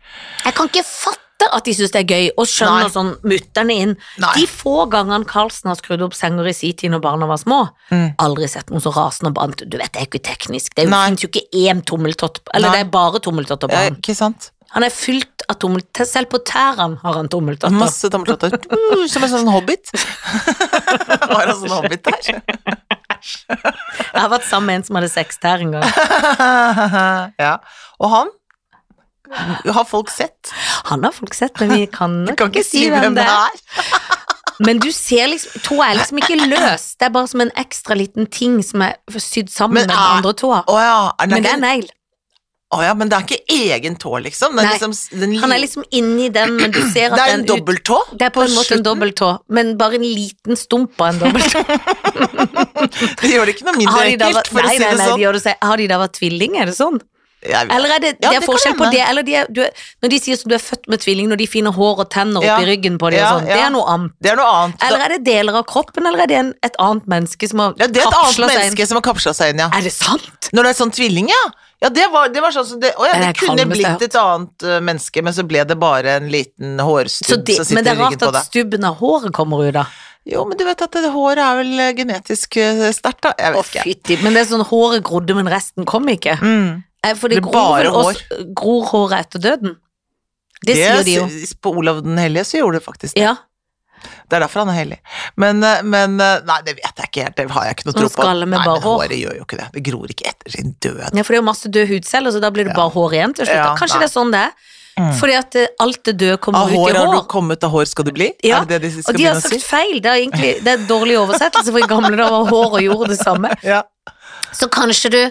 Speaker 2: Jeg kan ikke fatte at de syns det er gøy, og skjønner
Speaker 1: Nei.
Speaker 2: sånn mutterne inn.
Speaker 1: Nei.
Speaker 2: De få gangene Karlsen har skrudd opp senger i sin tid når barna var små,
Speaker 1: Mm.
Speaker 2: aldri sett noen så rasende og brant. Du vet, det er jo ikke teknisk. Det er jo-
Speaker 1: Nei.
Speaker 2: finnes jo ikke én tommeltott, eller
Speaker 1: Nei.
Speaker 2: det er bare tommeltotter på
Speaker 1: Ja,
Speaker 2: han.
Speaker 1: Eh, ikke sant?
Speaker 2: Han er fylt av tommeltotter. Selv på tærne har han tommeltotter.
Speaker 1: Masse tommeltotter. Mm, Som en sånn
Speaker 2: [laughs]
Speaker 1: hobbit. Har han sånn hobbit der?
Speaker 2: Jeg har vært sammen med en som hadde seks
Speaker 1: [laughs]
Speaker 2: tær en gang.
Speaker 1: ja. Og han? Har folk sett?
Speaker 2: Han har folk sett, men vi kan nok
Speaker 1: Jeg kan ikke si hvem det er.
Speaker 2: Men du ser liksom Tåa er liksom ikke løs, det er bare som en ekstra liten ting som er sydd sammen
Speaker 1: Men
Speaker 2: med den
Speaker 1: er-
Speaker 2: andre tåa.
Speaker 1: Å ja. Er
Speaker 2: Men
Speaker 1: den
Speaker 2: det er
Speaker 1: ikke,
Speaker 2: negl.
Speaker 1: å ja, men det er ikke egen tå, liksom? Den er
Speaker 2: Nei.
Speaker 1: liksom den
Speaker 2: Han er
Speaker 1: li-
Speaker 2: liksom inni den,
Speaker 1: [clears throat]
Speaker 2: men du ser at
Speaker 1: det er en
Speaker 2: den ut-
Speaker 1: dobbelttå?
Speaker 2: Det er på en måte en dobbelttå, men bare en liten stump av en
Speaker 1: [laughs]
Speaker 2: dobbelttå.
Speaker 1: Det gjør det ikke noe mindre
Speaker 2: Har de da
Speaker 1: ekkelt,
Speaker 2: vært-
Speaker 1: for å
Speaker 2: nei,
Speaker 1: si
Speaker 2: nei,
Speaker 1: det
Speaker 2: nei, de
Speaker 1: sånn.
Speaker 2: gjør det seg- Har de da vært tvillinger, er det sånn?
Speaker 1: Jeg vet.
Speaker 2: Eller er det,
Speaker 1: Ja,
Speaker 2: det er
Speaker 1: det kan
Speaker 2: forskjell på
Speaker 1: hende.
Speaker 2: det? Eller de er, du er, når de sier som du er født med tvilling, når de finner hår og tenner
Speaker 1: Ja.
Speaker 2: oppi ryggen på dem,
Speaker 1: Ja,
Speaker 2: og sånn,
Speaker 1: ja.
Speaker 2: det er noe annet.
Speaker 1: Det er noe annet.
Speaker 2: Eller er det deler av kroppen, eller er det en, et annet menneske som har
Speaker 1: ja, det er et annet
Speaker 2: kapsla seg inn?
Speaker 1: menneske som har kapsla seg inn, ja.
Speaker 2: Er det sant?
Speaker 1: Når det er sånn tvilling, ja. Ja, det var, det var sånn som det Å ja,
Speaker 2: Det
Speaker 1: det
Speaker 2: er
Speaker 1: kunne
Speaker 2: kalmest,
Speaker 1: blitt et annet eh, menneske, men så ble det bare en liten
Speaker 2: Så
Speaker 1: hårstubb
Speaker 2: det,
Speaker 1: som
Speaker 2: men
Speaker 1: sitter
Speaker 2: det er
Speaker 1: i ryggen
Speaker 2: rart
Speaker 1: på
Speaker 2: at
Speaker 1: deg.
Speaker 2: stubben av håret kommer ut, da.
Speaker 1: Jo, men du vet at det, håret er vel eh, genetisk eh, sterkt, da. Jeg
Speaker 2: Å,
Speaker 1: vet ikke.
Speaker 2: fytti. Men det er sånn håret grodde, men resten kom ikke.
Speaker 1: Mm.
Speaker 2: Eh, For det,
Speaker 1: Det er
Speaker 2: gror,
Speaker 1: bare
Speaker 2: vel også, gror håret etter døden. Det, sier de jo.
Speaker 1: s- På Olav den hellige så gjorde det faktisk det.
Speaker 2: Ja,
Speaker 1: Det er derfor han er hellig. Men, eh, men eh, Nei, det vet jeg ikke helt. Det har jeg ikke noe
Speaker 2: Sånn
Speaker 1: tro på.
Speaker 2: skalle med
Speaker 1: Nei,
Speaker 2: bare
Speaker 1: men
Speaker 2: hår.
Speaker 1: håret gjør jo ikke det. Det gror ikke etter sin død.
Speaker 2: ja, for det er jo masse døde hudceller, så da blir det bare hår igjen til slutt.
Speaker 1: Ja,
Speaker 2: Kanskje
Speaker 1: nei.
Speaker 2: det er sånn det er.
Speaker 1: Mm.
Speaker 2: Fordi at eh, alt det døde kommer
Speaker 1: Av
Speaker 2: ut
Speaker 1: hår
Speaker 2: i
Speaker 1: har du
Speaker 2: hår.
Speaker 1: kommet, av hår skal du bli?
Speaker 2: Ja,
Speaker 1: Er det det de skal
Speaker 2: Og de har
Speaker 1: begynne å
Speaker 2: sagt
Speaker 1: si?
Speaker 2: feil. Det er egentlig det er dårlig oversettelse, for i gamle dager var hår og jord det
Speaker 1: [laughs]
Speaker 2: samme.
Speaker 1: Ja.
Speaker 2: Så kanskje du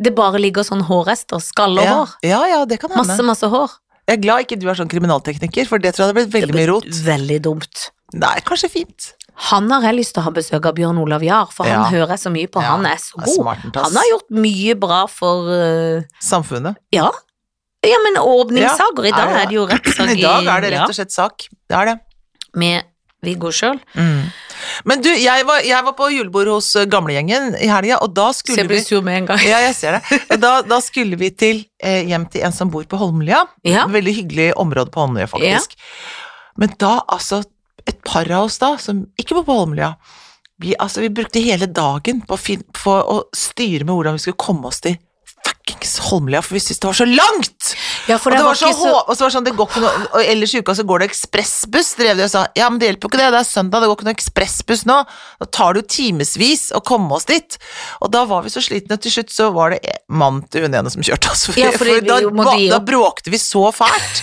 Speaker 2: det bare ligger sånn hårrester, skalle og
Speaker 1: Ja.
Speaker 2: hår.
Speaker 1: ja, ja, det kan hende.
Speaker 2: Masse, masse hår.
Speaker 1: Jeg er glad ikke du er sånn kriminaltekniker, for det tror jeg hadde blitt veldig mye rot.
Speaker 2: Veldig dumt.
Speaker 1: Nei, kanskje fint.
Speaker 2: Han har jeg lyst til å ha besøk av Bjørn Olav Jahr, for
Speaker 1: Ja.
Speaker 2: han hører jeg så mye på.
Speaker 1: Ja,
Speaker 2: Han er så
Speaker 1: Han er
Speaker 2: god.
Speaker 1: Smarten, tass.
Speaker 2: Han har gjort mye bra for eh,
Speaker 1: Samfunnet.
Speaker 2: Ja. Ja, men åpningssager. I
Speaker 1: Ja, er
Speaker 2: dag
Speaker 1: det
Speaker 2: er det jo
Speaker 1: [clears throat]
Speaker 2: rettssag
Speaker 1: I dag er det rett og slett sak. Det er det.
Speaker 2: ja, med Viggo sjøl.
Speaker 1: Mm. Men du, jeg var, jeg var på julebord hos eh, gamlegjengen i helga, og da
Speaker 2: Så jeg
Speaker 1: skulle
Speaker 2: blir
Speaker 1: vi
Speaker 2: sur med en gang.
Speaker 1: ja, jeg ser det. Og Da, da skulle vi til, eh, hjem til en som bor på Holmlia.
Speaker 2: Ja.
Speaker 1: Veldig hyggelig område på Holmlia, faktisk. Men da, altså, et par av oss da, som ikke bor på Holmlia, vi, altså, vi brukte hele dagen på å, fin på å styre med hvordan vi skulle komme oss til fuckings Holmlia, for vi syntes det var så langt!
Speaker 2: ja,
Speaker 1: og
Speaker 2: for det
Speaker 1: det var så,
Speaker 2: ikke
Speaker 1: hå- og så var det sånn, det går ikke noe, og ellers i uka så går det ekspressbuss, drev de og sa. Ja, men det hjelper jo ikke det, det er søndag, det går ikke noe ekspressbuss nå. Da tar det jo timevis å komme oss dit. Og da var vi så slitne, til slutt så var det mannen til hun ene som kjørte oss. [laughs]
Speaker 2: Ja, fordi vi
Speaker 1: da,
Speaker 2: jo
Speaker 1: ba-
Speaker 2: måtte gi
Speaker 1: da
Speaker 2: opp.
Speaker 1: bråkte vi så fælt.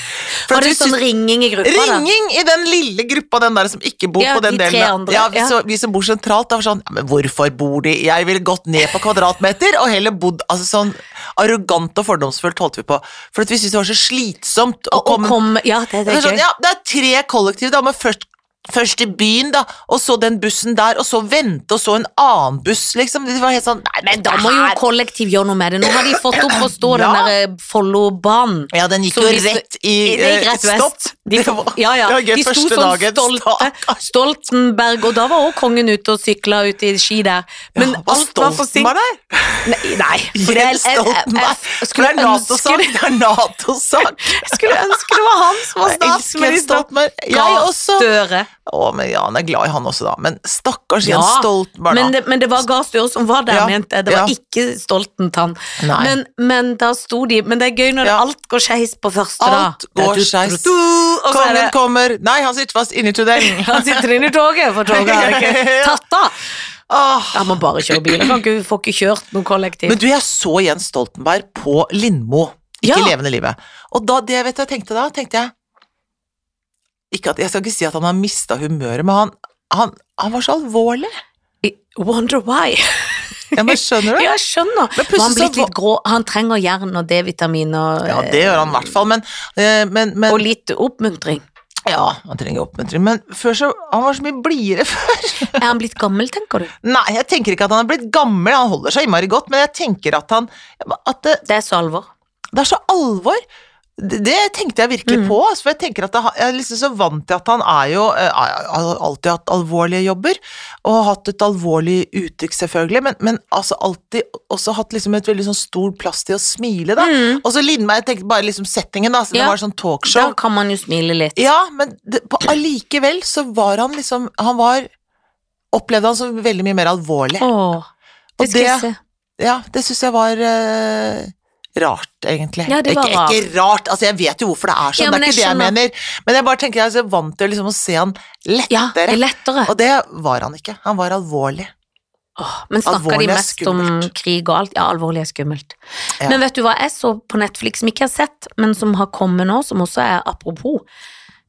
Speaker 1: For at
Speaker 2: Var det
Speaker 1: vi
Speaker 2: sånn
Speaker 1: syntes-
Speaker 2: ringing i gruppa, da?
Speaker 1: Ringing i den lille gruppa, den der som ikke bor
Speaker 2: Ja,
Speaker 1: på den
Speaker 2: de tre
Speaker 1: delen. av-
Speaker 2: andre,
Speaker 1: Ja, vi,
Speaker 2: ja.
Speaker 1: Så, vi som bor sentralt, da var sånn, ja, men hvorfor bor de? Jeg ville gått ned på kvadratmeter og heller bodd altså sånn arrogant og fordomsfullt holdt vi på. For at vi syntes det var så slitsomt å
Speaker 2: Og
Speaker 1: komme
Speaker 2: kom, ja, det,
Speaker 1: det
Speaker 2: det
Speaker 1: er
Speaker 2: er
Speaker 1: sånn,
Speaker 2: gøy.
Speaker 1: ja, det er tre kollektiv, da, men først Først i byen, da, og så den bussen der, og så vente, og så en annen buss, liksom. Det var helt sånn Nei, men
Speaker 2: Da må jo kollektiv gjøre noe med det. Nå har de fått opp å stå den
Speaker 1: Ja.
Speaker 2: der eh, Follobanen.
Speaker 1: Ja, den gikk
Speaker 2: Så
Speaker 1: jo
Speaker 2: hvis-
Speaker 1: rett i
Speaker 2: Det gikk
Speaker 1: eh,
Speaker 2: rett vest.
Speaker 1: stopp.
Speaker 2: De,
Speaker 1: Det var-
Speaker 2: ja, ja.
Speaker 1: det var gøy
Speaker 2: de sto
Speaker 1: første
Speaker 2: sånn
Speaker 1: dagen,
Speaker 2: stolte, Stoltenberg, og da var også kongen ute og sykla ute i ski der. Men
Speaker 1: ja,
Speaker 2: alt var for sent.
Speaker 1: Stoltenberg der?
Speaker 2: Nei, nei. for det er-
Speaker 1: Jens
Speaker 2: jeg- jeg-
Speaker 1: Stoltenberg.
Speaker 2: Jeg
Speaker 1: For det
Speaker 2: eh, skulle
Speaker 1: er
Speaker 2: ønske
Speaker 1: Nato-sak! Det er Nato-sak!
Speaker 2: jeg skulle ønske det var han som var
Speaker 1: Jeg elsker Jens
Speaker 2: statsminister.
Speaker 1: Stoltenberg. Jeg også.
Speaker 2: Støre.
Speaker 1: Å, men ja, han er glad i han også, da. Men stakkars
Speaker 2: Ja,
Speaker 1: Jens Stoltenberg,
Speaker 2: Men
Speaker 1: da.
Speaker 2: det, men det var Gahr Støre som var der,
Speaker 1: Ja,
Speaker 2: mente jeg. Det var
Speaker 1: ja.
Speaker 2: ikke Stoltentann.
Speaker 1: Nei.
Speaker 2: Men, men da sto de Men det er gøy når
Speaker 1: Ja.
Speaker 2: alt går skeis på første,
Speaker 1: Alt
Speaker 2: da.
Speaker 1: går
Speaker 2: Du-
Speaker 1: skeis.
Speaker 2: du- du- Og så er
Speaker 1: Kongen
Speaker 2: det
Speaker 1: kommer. Nei, han sitter fast inni
Speaker 2: [laughs]
Speaker 1: tunnelen.
Speaker 2: Han sitter inne i toget, for toget har
Speaker 1: [laughs]
Speaker 2: ikke tatt av.
Speaker 1: Åh.
Speaker 2: Han må bare kjøre bil. Han kan ikke, får ikke kjørt noe kollektiv.
Speaker 1: Men du, jeg så Jens Stoltenberg på Lindmo. Ikke
Speaker 2: Ja.
Speaker 1: Levende livet. Og da, det vet du, hva jeg tenkte da, tenkte jeg ikke at, Jeg skal ikke si at han har mista humøret, men han, han, han var så alvorlig.
Speaker 2: I Wonder why.
Speaker 1: Ja, men skjønner du?
Speaker 2: [laughs] Ja, jeg skjønner.
Speaker 1: Men plutselig
Speaker 2: Var han
Speaker 1: så
Speaker 2: blitt litt grå? Han trenger jern og D-vitamin og,
Speaker 1: Ja, det gjør han i hvert fall, men, eh, men, men
Speaker 2: og litt oppmuntring.
Speaker 1: Ja, han trenger oppmuntring, men før så, han var så mye blidere før.
Speaker 2: Er han blitt gammel, tenker du?
Speaker 1: Nei, jeg tenker ikke at han er blitt gammel, han holder seg innmari godt, men jeg tenker at han At det,
Speaker 2: Det er så alvor.
Speaker 1: det er så alvor. Det, det tenkte jeg virkelig
Speaker 2: Mm.
Speaker 1: på, altså, for jeg tenker at det, har- jeg er liksom så vant til at han er jo eh, er- Har alltid hatt alvorlige jobber, og har hatt et alvorlig uttrykk, selvfølgelig, men, men altså alltid også hatt liksom et veldig sånn stor plass til å smile, da.
Speaker 2: Mm.
Speaker 1: Og så Lindberg, jeg tenkte bare liksom settingen, da, så det
Speaker 2: Ja.
Speaker 1: var sånn
Speaker 2: Da
Speaker 1: talkshow.
Speaker 2: kan man jo smile litt.
Speaker 1: Ja, men det, på, allikevel så var han liksom Han var Opplevde han som veldig mye mer alvorlig.
Speaker 2: Åh,
Speaker 1: Og
Speaker 2: det skal
Speaker 1: det-
Speaker 2: jeg se.
Speaker 1: Ja, det syns jeg var eh, rart, egentlig.
Speaker 2: Ja, det var
Speaker 1: ikke, ikke rart, altså jeg vet jo hvorfor det er sånn,
Speaker 2: Ja,
Speaker 1: det
Speaker 2: men
Speaker 1: er ikke det
Speaker 2: jeg
Speaker 1: jeg
Speaker 2: skjønner.
Speaker 1: mener. Men jeg bare tenker jeg er så vant til liksom å se han
Speaker 2: Ja, det
Speaker 1: lettere.
Speaker 2: er lettere.
Speaker 1: og det var han ikke. Han var alvorlig.
Speaker 2: Åh, men snakker
Speaker 1: Alvorlig
Speaker 2: de
Speaker 1: er
Speaker 2: mest om
Speaker 1: skummelt.
Speaker 2: krig og alt? Ja, alvorlig er skummelt.
Speaker 1: Ja.
Speaker 2: Men vet du hva jeg så på Netflix som ikke jeg har sett, men som har kommet nå, som også er apropos?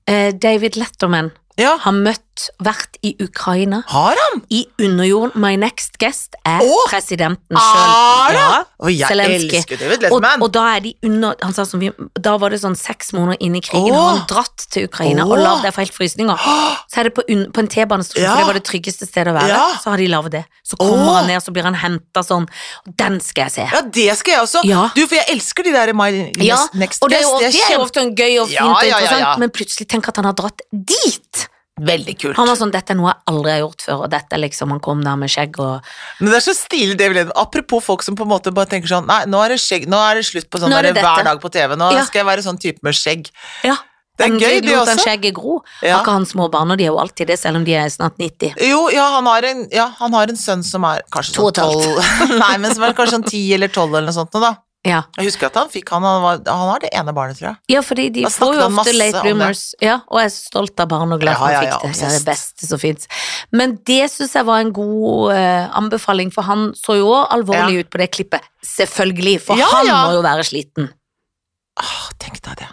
Speaker 2: Eh, David Letterman
Speaker 1: Ja,
Speaker 2: har møtt, vært i Ukraina,
Speaker 1: har han?
Speaker 2: i underjorden. My next guest er
Speaker 1: Åh!
Speaker 2: presidenten
Speaker 1: Er
Speaker 2: sjøl.
Speaker 1: det? Og jeg
Speaker 2: Zelenskyj.
Speaker 1: elsker David
Speaker 2: Og,
Speaker 1: Letterman.
Speaker 2: og da er de under han sa som vi, Da var det sånn seks måneder inn i krigen,
Speaker 1: Åh!
Speaker 2: har han dratt til Ukraina og
Speaker 1: Åh!
Speaker 2: lagd der for helt frysninger.
Speaker 1: Åh,
Speaker 2: Så er det på, unn- på en T-banestasjon,
Speaker 1: Ja.
Speaker 2: for det var det tryggeste stedet å være.
Speaker 1: Ja.
Speaker 2: Så har de laget det. Så kommer
Speaker 1: Åh.
Speaker 2: han ned, så blir han henta sånn. Og den skal jeg se.
Speaker 1: Ja, det skal jeg også.
Speaker 2: Ja.
Speaker 1: Du, for jeg elsker de der My
Speaker 2: Ja,
Speaker 1: Next
Speaker 2: og det er jo,
Speaker 1: Guest.
Speaker 2: det er jo ofte en gøy og fint
Speaker 1: Ja,
Speaker 2: og
Speaker 1: ja, ja,
Speaker 2: interessant,
Speaker 1: ja.
Speaker 2: men plutselig tenk at han har dratt dit.
Speaker 1: Veldig kult.
Speaker 2: Han var sånn, dette er noe jeg aldri har gjort før, og dette er liksom, han kom der med skjegg og
Speaker 1: Men det er så stilig David Letterman. Apropos folk som på en måte bare tenker sånn Nei, nå er det, skjegg, nå er det slutt på sånn
Speaker 2: Nå
Speaker 1: der,
Speaker 2: er det dette.
Speaker 1: hver dag på TV. Nå
Speaker 2: Ja.
Speaker 1: skal jeg være sånn type med skjegg.
Speaker 2: ja.
Speaker 1: Det er
Speaker 2: han
Speaker 1: gøy, det
Speaker 2: lot
Speaker 1: også.
Speaker 2: Han skjegget gro.
Speaker 1: Ja.
Speaker 2: Har ikke han små barn, og de er jo alltid det, selv om de er snart 90.
Speaker 1: Jo, ja, han har en, ja, han har en sønn som er kanskje
Speaker 2: To og
Speaker 1: sånn
Speaker 2: et halvt.
Speaker 1: tolv [laughs] Nei, men som er kanskje sånn ti eller tolv eller noe sånt nå, da.
Speaker 2: Ja,
Speaker 1: Jeg husker at han fikk han, han, var, han har det ene barnet, tror jeg.
Speaker 2: ja fordi de
Speaker 1: Da
Speaker 2: får
Speaker 1: snakker
Speaker 2: jo
Speaker 1: han
Speaker 2: ofte
Speaker 1: masse
Speaker 2: late
Speaker 1: om det.
Speaker 2: bloomers. Ja, og jeg er så stolt av barn og glad for
Speaker 1: Ja,
Speaker 2: han
Speaker 1: ja, ja,
Speaker 2: fikk det. Det er
Speaker 1: obsesst.
Speaker 2: det beste som fins. Men det syns jeg var en god eh, anbefaling, for han så jo også alvorlig ut på det klippet. Selvfølgelig, for
Speaker 1: Ja,
Speaker 2: han
Speaker 1: ja.
Speaker 2: må jo være sliten.
Speaker 1: Åh, Ah, tenk deg det.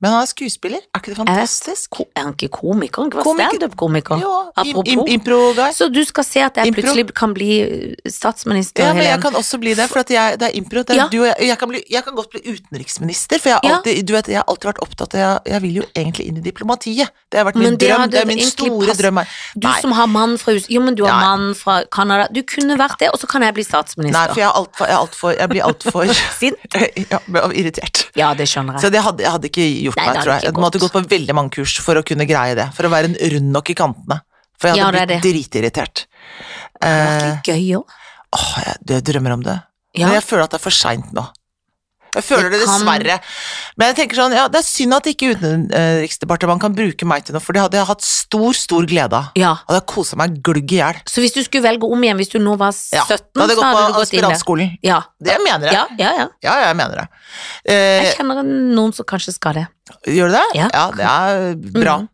Speaker 1: Men han er skuespiller, er ikke det fantastisk?
Speaker 2: Ko- Er han ikke komiker? Han ikke var
Speaker 1: Komiker.
Speaker 2: standup-komiker.
Speaker 1: Jo, im,
Speaker 2: Apropos.
Speaker 1: im, impro-guy.
Speaker 2: Så du skal se at jeg
Speaker 1: Impro.
Speaker 2: plutselig kan bli eh, statsminister,
Speaker 1: Ja, men jeg
Speaker 2: Helene.
Speaker 1: kan også bli det, for at jeg, det er impro. Det er
Speaker 2: Ja.
Speaker 1: du og jeg, jeg, kan bli, jeg kan godt bli utenriksminister, for jeg har
Speaker 2: Ja.
Speaker 1: alltid, du vet, jeg har alltid vært opptatt av jeg, jeg vil jo egentlig inn i diplomatiet. Det har vært min
Speaker 2: Men det
Speaker 1: drøm.
Speaker 2: hadde
Speaker 1: Det er min
Speaker 2: egentlig
Speaker 1: store
Speaker 2: pass-
Speaker 1: drøm. her.
Speaker 2: Du
Speaker 1: Nei.
Speaker 2: som har mann fra USA Jo, men du har
Speaker 1: Ja, ja.
Speaker 2: mann fra Canada. Du kunne vært det, og så kan jeg bli
Speaker 1: Nei,
Speaker 2: statsminister.
Speaker 1: for jeg, er alt for, jeg, er alt for, [laughs] jeg blir altfor
Speaker 2: Sint?
Speaker 1: ja, men irritert.
Speaker 2: Ja, det skjønner jeg.
Speaker 1: Så eh, det hadde, jeg hadde ikke gjort
Speaker 2: Nei, det
Speaker 1: meg,
Speaker 2: hadde
Speaker 1: tror jeg.
Speaker 2: ikke
Speaker 1: Jeg måtte
Speaker 2: gått.
Speaker 1: gått på veldig mange kurs for å kunne greie det. For å være en rund nok i kantene. For jeg
Speaker 2: Ja,
Speaker 1: hadde
Speaker 2: det er
Speaker 1: blitt dritirritert.
Speaker 2: Det
Speaker 1: Eh,
Speaker 2: hadde vært litt gøy òg.
Speaker 1: åh, jeg, jeg drømmer om det.
Speaker 2: Ja.
Speaker 1: Men jeg føler at det er for seint nå. Jeg føler
Speaker 2: Det
Speaker 1: det,
Speaker 2: kan-
Speaker 1: dessverre. Men jeg tenker sånn, ja, det er synd at ikke Utenriksdepartementet kan bruke meg til noe, for det hadde jeg hatt stor, stor glede av.
Speaker 2: ja.
Speaker 1: Hadde jeg kosa meg glugg i hjel.
Speaker 2: Så hvis du skulle velge om igjen, hvis du nå var 17,
Speaker 1: Ja, da hadde jeg
Speaker 2: så
Speaker 1: gått på
Speaker 2: hadde du gått inn der.
Speaker 1: aspirantskolen.
Speaker 2: Ja.
Speaker 1: Det mener jeg.
Speaker 2: ja, ja, ja.
Speaker 1: Ja, ja, jeg mener det. Eh,
Speaker 2: Jeg kjenner noen som kanskje skal det.
Speaker 1: gjør du det?
Speaker 2: Ja.
Speaker 1: det er bra.
Speaker 2: Mm.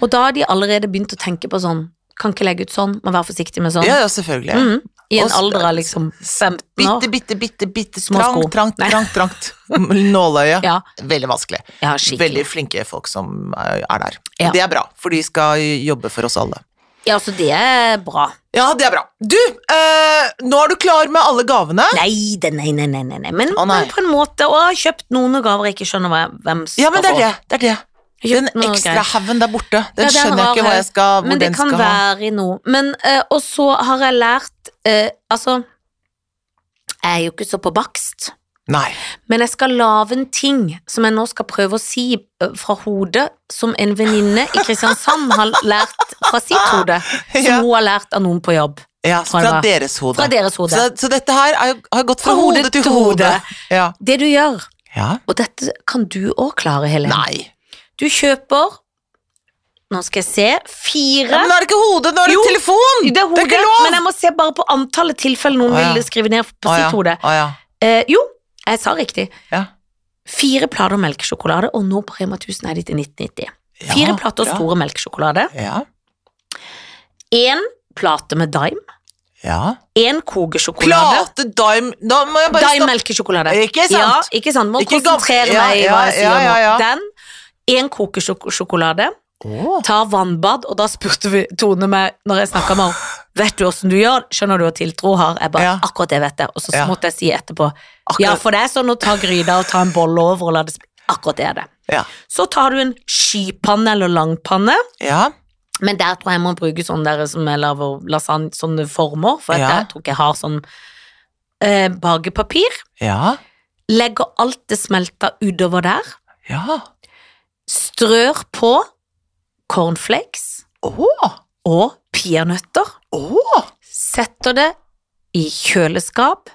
Speaker 2: Og da har de allerede begynt å tenke på sånn Kan ikke legge ut sånn, må være forsiktig med sånn.
Speaker 1: Ja, ja, selvfølgelig.
Speaker 2: Mhm. I en
Speaker 1: Og s-
Speaker 2: alder av liksom 15 år.
Speaker 1: Bitte, bitte, bitte, bitte
Speaker 2: Små sko.
Speaker 1: trangt, trangt,
Speaker 2: Nei.
Speaker 1: trangt,
Speaker 2: [laughs]
Speaker 1: trangt. Nåløye.
Speaker 2: Ja,
Speaker 1: Veldig vanskelig.
Speaker 2: ja skikkelig.
Speaker 1: Veldig flinke folk som eh, er der.
Speaker 2: Ja.
Speaker 1: Det er bra, for de skal jobbe for oss alle.
Speaker 2: Ja, så det er bra.
Speaker 1: Ja, det er bra. Du, eh, nå er du klar med alle gavene.
Speaker 2: Nei, det, nei, nei, nei, nei, nei. Men,
Speaker 1: Å, nei.
Speaker 2: men på en måte. Og jeg har kjøpt noen gaver jeg ikke skjønner hva- hvem skal
Speaker 1: Ja, men det er
Speaker 2: få.
Speaker 1: det. det, er det.
Speaker 2: Jeg har
Speaker 1: Den
Speaker 2: kjøpt noen
Speaker 1: ekstra
Speaker 2: greier.
Speaker 1: haugen der borte, den
Speaker 2: Ja, den
Speaker 1: skjønner jeg
Speaker 2: har
Speaker 1: ikke hva
Speaker 2: jeg.
Speaker 1: jeg skal, hvor
Speaker 2: Men det
Speaker 1: den
Speaker 2: kan
Speaker 1: skal ha.
Speaker 2: være i noe. Men, eh, og så har jeg lært eh, Altså, jeg er jo ikke så på bakst,
Speaker 1: Nei.
Speaker 2: men jeg skal lage en ting som jeg nå skal prøve å si eh, fra hodet, som en venninne i Kristiansand har lært fra sitt hode, som
Speaker 1: Ja.
Speaker 2: hun har lært av noen på jobb.
Speaker 1: Ja,
Speaker 2: Fra
Speaker 1: så fra
Speaker 2: hva?
Speaker 1: deres hode.
Speaker 2: Fra deres hode.
Speaker 1: Så, så dette her er, jo- har gått fra, hode, til hode. Ja.
Speaker 2: Det du gjør,
Speaker 1: ja.
Speaker 2: og dette kan du òg klare, Helene.
Speaker 1: Nei.
Speaker 2: Du kjøper Nå skal jeg se
Speaker 1: Ja,
Speaker 2: Fire
Speaker 1: men nå er det ikke hodet, nå er det
Speaker 2: Jo,
Speaker 1: telefon!
Speaker 2: Det er
Speaker 1: ikke
Speaker 2: hodet,
Speaker 1: lov!
Speaker 2: men jeg må se bare på antallet tilfeller noen
Speaker 1: Å, ja.
Speaker 2: ville skrive ned
Speaker 1: Å,
Speaker 2: på
Speaker 1: ja.
Speaker 2: sitt hode.
Speaker 1: Å, ja.
Speaker 2: Eh, jo, jeg sa riktig.
Speaker 1: Ja.
Speaker 2: Fire plater melkesjokolade, og nå på Rema 1000 er de til 1990.
Speaker 1: Ja,
Speaker 2: Fire plater
Speaker 1: bra.
Speaker 2: store melkesjokolade.
Speaker 1: Ja.
Speaker 2: Én plate med Dime.
Speaker 1: ja.
Speaker 2: Én kogesjokolade.
Speaker 1: Plate, dime Da må jeg bare
Speaker 2: Dime
Speaker 1: stoppe.
Speaker 2: melkesjokolade.
Speaker 1: Ikke sant?
Speaker 2: Ja, ikke sant? Må
Speaker 1: Ikke gam-
Speaker 2: konsentrere
Speaker 1: Ja,
Speaker 2: meg i
Speaker 1: ja,
Speaker 2: hva jeg sier
Speaker 1: ja, ja, ja.
Speaker 2: nå. Den. Én kokesjokolade.
Speaker 1: Å.
Speaker 2: ta vannbad, og da spurte vi Tone meg når jeg snakka med henne. Vet du åssen du gjør? Skjønner du hva tiltro har? Jeg bare,
Speaker 1: Ja.
Speaker 2: akkurat det vet jeg. Og så
Speaker 1: Ja.
Speaker 2: måtte jeg si etterpå.
Speaker 1: Akkurat.
Speaker 2: Ja, for det er sånn å ta gryta og ta en bolle over og la det sp- Akkurat det er det.
Speaker 1: Ja.
Speaker 2: Så tar du en skypanne eller langpanne,
Speaker 1: Ja.
Speaker 2: men der tror jeg jeg må bruke sånne, der som jeg lager lasagne, sånne former, for at
Speaker 1: Ja.
Speaker 2: jeg tror ikke jeg har sånn eh, bakepapir.
Speaker 1: Ja.
Speaker 2: Legger alt det smelta utover der,
Speaker 1: Ja.
Speaker 2: strør på cornflakes
Speaker 1: Å!
Speaker 2: og peanøtter,
Speaker 1: Å!
Speaker 2: setter det i kjøleskap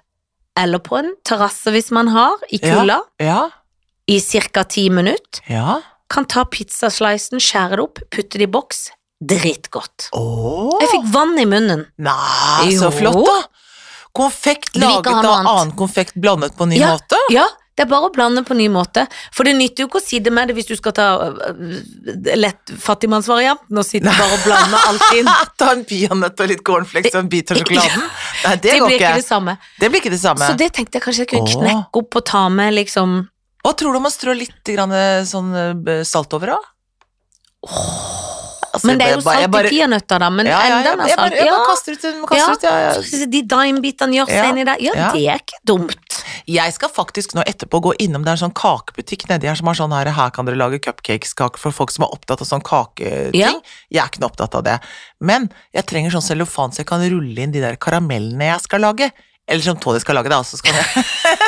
Speaker 2: eller på en terrasse hvis man har, i
Speaker 1: Ja.
Speaker 2: kulda,
Speaker 1: Ja.
Speaker 2: i ca. ti minutter.
Speaker 1: Ja.
Speaker 2: kan ta pizzaslicen, skjære det opp, putte det i boks. Dritgodt.
Speaker 1: Å!
Speaker 2: Jeg fikk vann i munnen.
Speaker 1: Nei, så
Speaker 2: Jo.
Speaker 1: flott, da! Konfekt
Speaker 2: Du vil ikke
Speaker 1: laget
Speaker 2: ha
Speaker 1: av
Speaker 2: noe annet.
Speaker 1: annen konfekt blandet på en ny
Speaker 2: Ja. [laughs]
Speaker 1: måte? [laughs]
Speaker 2: Ja, det er bare å blande på ny måte. For det nytter jo ikke å sitte med det hvis du skal ta øh, lett fattigmannsvarianten og sitte bare og
Speaker 1: [laughs]
Speaker 2: blande alt inn.
Speaker 1: Ta en peanøtt og litt cornflakes og en bit av
Speaker 2: [laughs]
Speaker 1: sjokoladen? Nei, det,
Speaker 2: Det
Speaker 1: går
Speaker 2: blir
Speaker 1: ikke.
Speaker 2: ikke det samme.
Speaker 1: Det blir ikke det
Speaker 2: Så
Speaker 1: samme.
Speaker 2: det tenkte jeg kanskje jeg kunne
Speaker 1: Åh.
Speaker 2: knekke opp og ta med liksom
Speaker 1: Og tror du man strør litt grann, eh, sånn eh, salt over Altså, òg?
Speaker 2: Men det er jo salt i peanøtter, da. Men
Speaker 1: ja, ja, ja,
Speaker 2: enden er
Speaker 1: jeg bare,
Speaker 2: salt.
Speaker 1: jeg bare
Speaker 2: Ja,
Speaker 1: kaster ut, en- kaster
Speaker 2: Ja.
Speaker 1: ut ja, ja.
Speaker 2: så de dimebitene gjør seg
Speaker 1: Ja.
Speaker 2: inni der. Ja,
Speaker 1: Ja.
Speaker 2: det er ikke dumt.
Speaker 1: Jeg skal faktisk nå etterpå gå innom Det er en sånn kakebutikk nedi her som har sånn her Her kan dere lage cupcakeskaker for folk som er opptatt av sånn kaketing.
Speaker 2: Ja.
Speaker 1: Jeg er ikke noe opptatt av det. Men jeg trenger sånn cellofan så jeg kan rulle inn de der karamellene jeg skal lage. Eller som Tony skal lage, da. Så skal jeg... [laughs]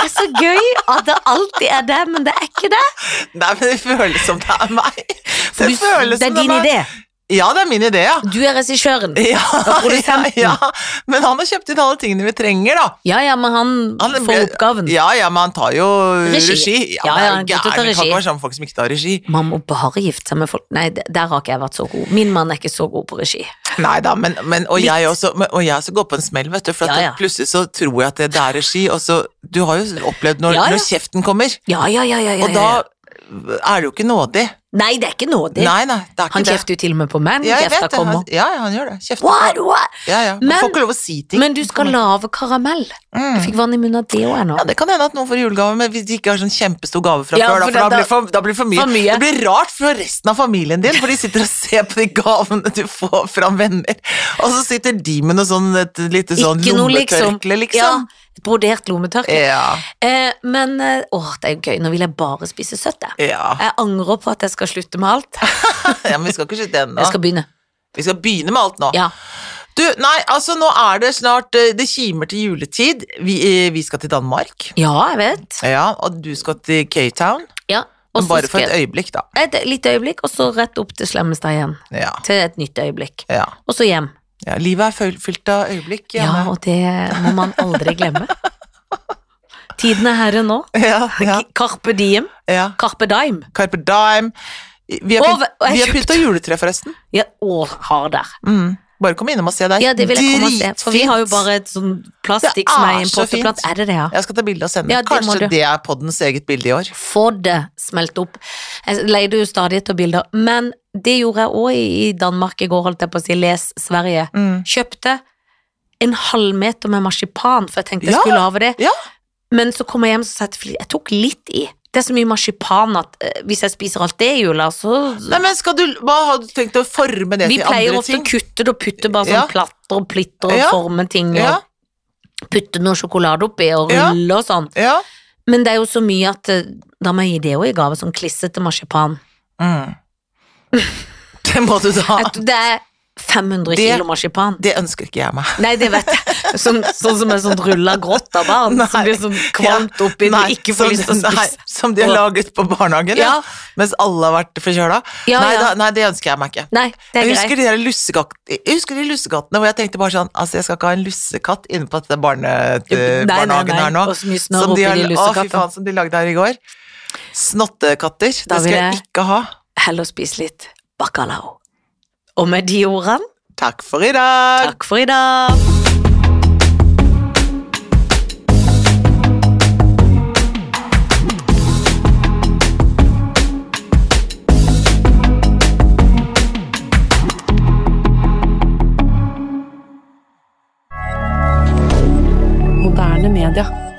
Speaker 2: Det er så gøy at det alltid er det, men det er ikke det.
Speaker 1: Nei, men det føles som det er meg.
Speaker 2: Du,
Speaker 1: Det føles
Speaker 2: det
Speaker 1: som
Speaker 2: er din
Speaker 1: meg.
Speaker 2: idé.
Speaker 1: Ja, det er min idé, ja.
Speaker 2: Du er regissøren.
Speaker 1: Ja, [laughs] ja,
Speaker 2: produsenten.
Speaker 1: ja. Men han har kjøpt inn alle tingene vi trenger, da.
Speaker 2: Ja, ja, men han,
Speaker 1: Han-
Speaker 2: får oppgaven.
Speaker 1: Ja, ja, men han tar jo
Speaker 2: Regi.
Speaker 1: regi.
Speaker 2: Ja, ja,
Speaker 1: men er
Speaker 2: han er god til å ta
Speaker 1: gæren. Det Kan
Speaker 2: regi.
Speaker 1: ikke være sammen med folk som ikke tar regi.
Speaker 2: Man må bare gifte seg med folk. Nei, d- der har ikke jeg vært så god. Min mann er ikke så god på regi.
Speaker 1: Nei da, men, men og,
Speaker 2: Litt.
Speaker 1: jeg også, men, og jeg også går på en smell, vet du. For at
Speaker 2: Ja, ja.
Speaker 1: plutselig så tror jeg at det, det er regi, og så Du har jo opplevd når,
Speaker 2: Ja, ja.
Speaker 1: når kjeften kommer,
Speaker 2: Ja, ja, ja, ja, ja,
Speaker 1: og
Speaker 2: ja,
Speaker 1: da
Speaker 2: ja.
Speaker 1: er det jo ikke nådig.
Speaker 2: Nei, det er ikke nådig.
Speaker 1: Nei, nei, det er ikke
Speaker 2: han
Speaker 1: det.
Speaker 2: kjefter jo til og med på meg.
Speaker 1: Ja,
Speaker 2: når
Speaker 1: jeg vet
Speaker 2: Kjefta
Speaker 1: det. Han,
Speaker 2: kommer.
Speaker 1: ja, ja, han gjør det. Kjeften
Speaker 2: What, what?
Speaker 1: Ja, ja. Man
Speaker 2: Men-
Speaker 1: får ikke Mm. lov å si ting.
Speaker 2: Men du skal lage karamell. Jeg fikk vann i munnen av det òg ennå.
Speaker 1: ja, det kan hende at noen får julegave, men hvis de ikke har sånn kjempestor gave fra
Speaker 2: Ja,
Speaker 1: før, da,
Speaker 2: for
Speaker 1: for da,
Speaker 2: det-
Speaker 1: blir for, da blir det for mye.
Speaker 2: for mye.
Speaker 1: Det blir rart for resten av familien din, for de sitter og ser på de gavene du får fra venner, og så sitter de med noe sånn, et lite sånn
Speaker 2: Ikke noe, liksom.
Speaker 1: lommetørkle,
Speaker 2: Ja,
Speaker 1: liksom.
Speaker 2: et brodert lommetørkle.
Speaker 1: Ja.
Speaker 2: Eh, men eh, åh, det er jo gøy. Nå vil jeg bare spise søtt, jeg.
Speaker 1: Ja.
Speaker 2: Jeg angrer på at jeg skal slutte med
Speaker 1: [laughs]
Speaker 2: alt.
Speaker 1: ja, men vi skal ikke slutte ennå.
Speaker 2: Jeg skal begynne.
Speaker 1: Vi skal begynne med alt nå.
Speaker 2: Ja.
Speaker 1: Du, nei, altså nå er det snart eh, Det kimer til juletid. Vi, eh, vi skal til Danmark.
Speaker 2: ja, jeg vet.
Speaker 1: Ja, og du skal til K-Town.
Speaker 2: Ja. og
Speaker 1: Men
Speaker 2: så
Speaker 1: bare for
Speaker 2: skal
Speaker 1: et øyeblikk, da.
Speaker 2: jeg- Et lite øyeblikk, og så rett opp til Slemmestad igjen.
Speaker 1: Ja.
Speaker 2: til et nytt øyeblikk.
Speaker 1: ja.
Speaker 2: Og så hjem.
Speaker 1: ja livet er fylt- fylt av øyeblikk.
Speaker 2: Ja,
Speaker 1: Janne.
Speaker 2: og det må man aldri [laughs] glemme. Tiden er herre nå.
Speaker 1: Ja, ja,
Speaker 2: Carpe diem.
Speaker 1: ja.
Speaker 2: Carpe dime.
Speaker 1: Carpe Dime. Vi har, pynt-
Speaker 2: Og hva- og jeg
Speaker 1: vi har
Speaker 2: kjøpte-
Speaker 1: pynta juletre, forresten.
Speaker 2: Ja, å, har der.
Speaker 1: Mm. Bare kom innom og se deg.
Speaker 2: Ja, det vil jeg komme og se. For vi har jo bare et sånn
Speaker 1: Det
Speaker 2: plastikk
Speaker 1: er
Speaker 2: som er en
Speaker 1: så fint.
Speaker 2: potteplante. Er det det, ja?
Speaker 1: Jeg skal ta bilde og sende.
Speaker 2: Ja, det må
Speaker 1: Kanskje
Speaker 2: du.
Speaker 1: det er poddens eget bilde i år.
Speaker 2: Få det smelt opp. Jeg leide jo stadig etter bilder, men det gjorde jeg òg i Danmark i går, holdt jeg på å si. Les Sverige.
Speaker 1: Mm.
Speaker 2: Kjøpte en halvmeter med marsipan, for jeg tenkte jeg
Speaker 1: Ja,
Speaker 2: skulle lage det.
Speaker 1: ja.
Speaker 2: Men så kom jeg hjem og sa jeg til Fili- jeg tok litt i. Det er så mye marsipan at eh, hvis jeg spiser alt det i jula, så
Speaker 1: Nei, men skal du, Hva har du tenkt å forme det
Speaker 2: Vi
Speaker 1: til
Speaker 2: pleier
Speaker 1: andre
Speaker 2: ofte
Speaker 1: ting?
Speaker 2: å kutte det og putte bare sånn
Speaker 1: Ja.
Speaker 2: platter og plitter og
Speaker 1: Ja.
Speaker 2: forme ting og
Speaker 1: Ja,
Speaker 2: putte noe sjokolade oppi og
Speaker 1: Ja.
Speaker 2: rulle og sånn.
Speaker 1: ja.
Speaker 2: Men det er jo så mye at eh, da må jeg gi det òg i gave, sånn klissete marsipan.
Speaker 1: Mm. [laughs] Det må du da.
Speaker 2: Jeg tror Det er 500
Speaker 1: Ah. Det-
Speaker 2: kilo marsipan.
Speaker 1: Det ønsker ikke jeg meg.
Speaker 2: Nei, det vet jeg. Sånn, sånn som er sånn rulla grått av barn,
Speaker 1: Nei.
Speaker 2: som blir sånn kvalmt oppi, du
Speaker 1: Nei,
Speaker 2: ikke
Speaker 1: som-
Speaker 2: får lyst til å
Speaker 1: nei, sånn-
Speaker 2: spise.
Speaker 1: Som de har laget på barnehagen, ja.
Speaker 2: Ja.
Speaker 1: mens alle har vært forkjøla.
Speaker 2: Ja,
Speaker 1: nei,
Speaker 2: ja.
Speaker 1: da- nei, det ønsker jeg meg ikke.
Speaker 2: Nei, det er
Speaker 1: Jeg
Speaker 2: greit.
Speaker 1: husker, de der lussekatt, jeg husker de lussekattene hvor jeg tenkte bare sånn Altså, jeg skal ikke ha en lussekatt inne på dette barne,
Speaker 2: Nei, nei,
Speaker 1: barnehagen
Speaker 2: nei,
Speaker 1: her nå.
Speaker 2: og så mye snørr
Speaker 1: Som de
Speaker 2: oppi
Speaker 1: har-
Speaker 2: de
Speaker 1: å, fy
Speaker 2: lussekattene.
Speaker 1: faen, som de lagde her i går. Snottekatter. Det
Speaker 2: Da
Speaker 1: skal
Speaker 2: vil
Speaker 1: jeg
Speaker 2: jeg-
Speaker 1: ikke ha.
Speaker 2: Heller spis litt bacalao. Og med de ordene,
Speaker 1: Takk for i dag.
Speaker 2: takk for i dag.
Speaker 3: Moderne media.